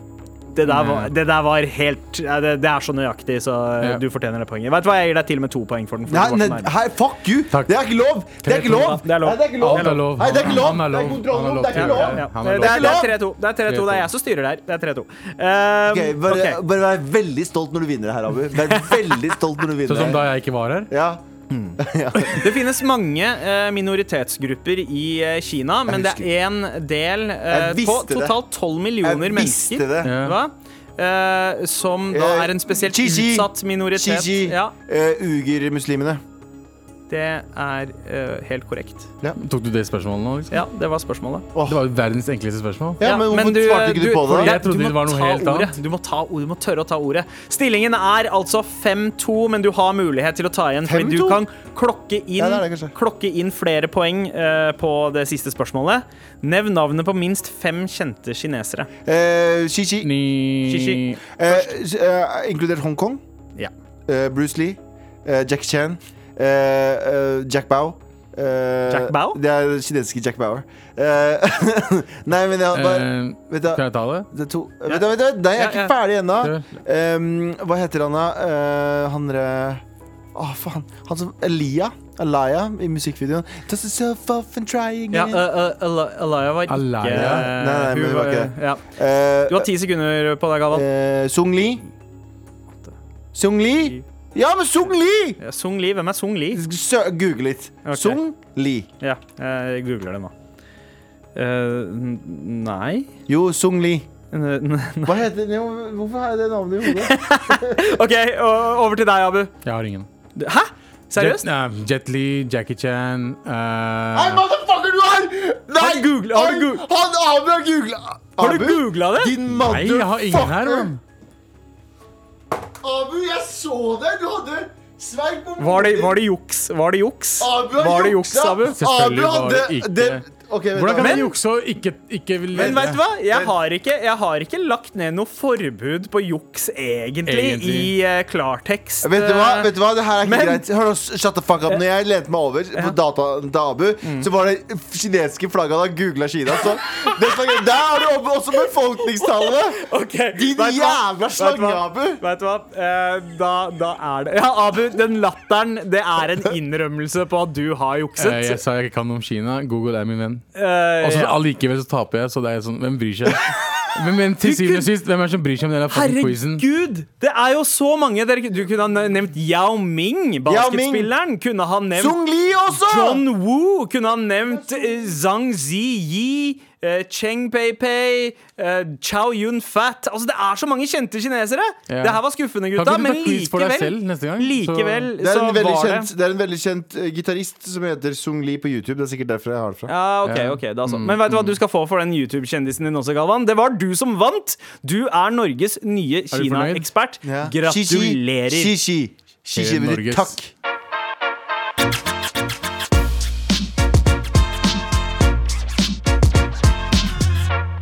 S2: det der, var,
S3: Mm.
S2: det der var helt ja, det, det er så nøyaktig, så eh,
S4: Ja.
S2: du fortjener det poenget. Vet du hva, Jeg gir deg til og med to poeng for den. For
S3: Nei,
S2: du var så
S3: nei,
S2: nærme.
S3: hei, fuck you!
S4: Takk.
S3: Det er ikke lov! Det er ikke lov!
S2: Det er lov.
S3: Nei, det er ikke lov.
S4: Alt er lov.
S3: Nei, det er ikke lov.
S4: Han er
S3: Det er
S4: lov.
S3: kontrollrom, det er ikke
S2: ja,
S4: Han er lov.
S3: lov.
S2: ja.
S4: Han
S2: Det
S4: er
S2: er- det
S3: lov.
S2: er 3-2. Det er 3-2. Det er jeg som styrer der. Det er 3-2. Eh,
S3: Ok, bare,
S2: ok.
S3: bare vær veldig stolt når du vinner det her, Abu. Vær veldig stolt når du vinner
S4: Sånn som
S3: det
S4: da
S3: her.
S4: jeg ikke var her.
S3: Ja.
S2: Det finnes mange eh, minoritetsgrupper i eh, Kina, men det
S3: husker.
S2: er én del eh, på
S3: Jeg visste det.
S2: totalt 12 millioner
S3: Jeg visste
S2: mennesker
S3: det.
S4: Ja.
S2: Hva? Eh, som da
S3: Eh,
S2: er en spesielt
S3: Xi-Xi.
S2: utsatt minoritet.
S3: Xi-Xi,
S2: Ja,
S3: eh, ugermuslimene.
S2: det er eh, helt korrekt.
S4: Tok du det spørsmålet nå? liksom?
S2: Ja, det var spørsmålet.
S4: Det var jo verdens enkleste spørsmål.
S3: Ja,
S2: Ja,
S3: men hvorfor
S2: du-
S3: svarte ikke du på det?
S4: fordi
S3: da?
S4: jeg trodde
S2: du må
S4: det var noe
S2: ta
S4: helt
S2: ordet.
S4: annet.
S2: Du må, ta, ord- du må tørre å ta ordet. Stillingen er altså 5-2, men du har mulighet til å ta igjen. Fordi
S3: 5-2?
S2: du kan klokke inn,
S3: Ja, det er det kanskje.
S2: klokke inn flere poeng eh, på det siste spørsmålet. Nevn navnet på minst fem kjente kinesere.
S3: Eh, Xi-Xi.
S4: Ni...
S2: Xi-Xi.
S3: Eh, eh, inkludert Hongkong,
S2: Ja.
S3: eh, Bruce Lee, eh, Jack Chan, eh, eh, Jack Bao. eh,
S2: Jack Bao?
S3: Det er det kinesiske Jack Bauer. Eh, nei, men jeg, bare,
S4: Eh,
S3: vet du,
S4: Kan jeg ta det?
S3: det er to, vet du, vet du, nei, jeg er
S2: Ja,
S3: ikke
S2: ja.
S3: ferdig ennå.
S4: Det-
S3: Em, hva heter han, da? Eh, han derre Å, faen. Han som Elia. Elia i musikkvideoen. Toss yourself off and try again.
S2: Ja, eh, eh, Ala- Alaya var ikke
S4: Alaya?
S2: eh,
S3: Nei, nei, men
S2: hun
S3: det var ikke
S2: ja.
S3: Eh,
S2: Du har ti sekunder på deg, Galvan.
S3: eh, Sung Lee. Sung Lee? Ja, men Sung Lee!
S2: Ja, Sung Li, Hvem er Sung Li?
S3: Sø Google litt.
S2: Ok.
S3: Sung Li.
S2: Ja, jeg googler det nå. Eh, n- nei
S3: Jo, Sung Li.
S2: N- n-
S3: Hva heter det? Hvorfor har jeg det navnet i hodet?
S2: OK, o- over til deg, Abu.
S4: Jeg har ingen.
S2: Hæ? Seriøst?
S4: Jet, eh, Jet Li, Jackie Chan eh,
S3: Nei, motherfucker, du har Nei!
S2: Har du googlet- har du
S3: han-
S2: googlet-
S3: Han Abu har googla!
S2: Har du googla det?
S3: Din
S4: Nei, jeg har ingen her,
S3: motherfucker!
S4: mann.
S3: Abu, jeg så deg! Du hadde Sveik på
S2: Var det, var det juks? Var det juks?
S3: Abu har
S2: Var det juks,
S3: juksa!
S2: Abu?
S4: Selvfølgelig
S3: Abu
S4: var det
S3: hadde-
S4: ikke
S3: det- ok, vent
S4: Hvordan
S3: da.
S4: kan
S2: Men-
S4: man jukse og ikke, ikke vil
S2: Men vet du hva? Jeg har, ikke, jeg har ikke lagt ned noe forbud på juks, egentlig,
S4: Egentlig.
S2: i eh, klartekst.
S3: Vet du hva? Vet du hva? Det her er ikke
S2: Eh, Men-
S3: greit. Hør nå, shut the fuck up. Når jeg lente meg over på dataen til Abu,
S2: Mm.
S3: så var det kinesiske flagget da googla Kina. Så det flagget, der har du opp- også befolkningstallene!
S2: Ok, vet
S3: Din
S2: du hva?
S3: jævla
S2: Vet du hva?
S3: slange, Abu.
S2: Vet du hva? Eh, da, da er det Ja, Abu, den latteren, det er en innrømmelse på at du har jukset.
S4: Eh, Jeg sa jeg ikke kan noe om Kina. Google er min venn.
S2: Eh,
S4: Og så
S2: ja.
S4: allikevel så taper jeg, så det er sånn, hvem bryr seg? Men, men til syvende og sist, hvem er det som bryr seg om den der fucking quizen?
S2: Herregud! Det er jo så mange dere, Du kunne ha nevnt Yao Ming, basketspilleren. Kunne ha nevnt
S3: Sung Li
S4: Ah!
S3: også!
S2: John Woo kunne ha nevnt eh, Zhang Ziyi, eh, Cheng Pei-Pei, eh, Chow Yun-fat Altså, det er så mange kjente kinesere!
S4: Ja.
S2: Det her var skuffende,
S4: Kan
S2: gutta,
S4: ikke du ta
S2: men
S4: quiz for deg
S2: likevel
S4: selv neste gang? Så-
S2: Likevel
S3: Det er
S2: så
S3: en veldig
S2: var det
S3: kjent, det er en veldig kjent eh, gitarist som heter Sung Li på YouTube. Det er sikkert derfor jeg har det fra.
S2: Ja, ok,
S4: Ja. Mm.
S2: ok, da så. Men vet du hva du skal få for den YouTube-kjendisen din også, Galvan? Det var du som vant! Du er Norges nye
S4: fornøyd?
S2: Kina-ekspert.
S3: Ja.
S2: Gratulerer.
S3: Xi, Xi, Xi, Xi, Xi,
S4: Hele
S3: betyr
S4: Norges-
S3: takk.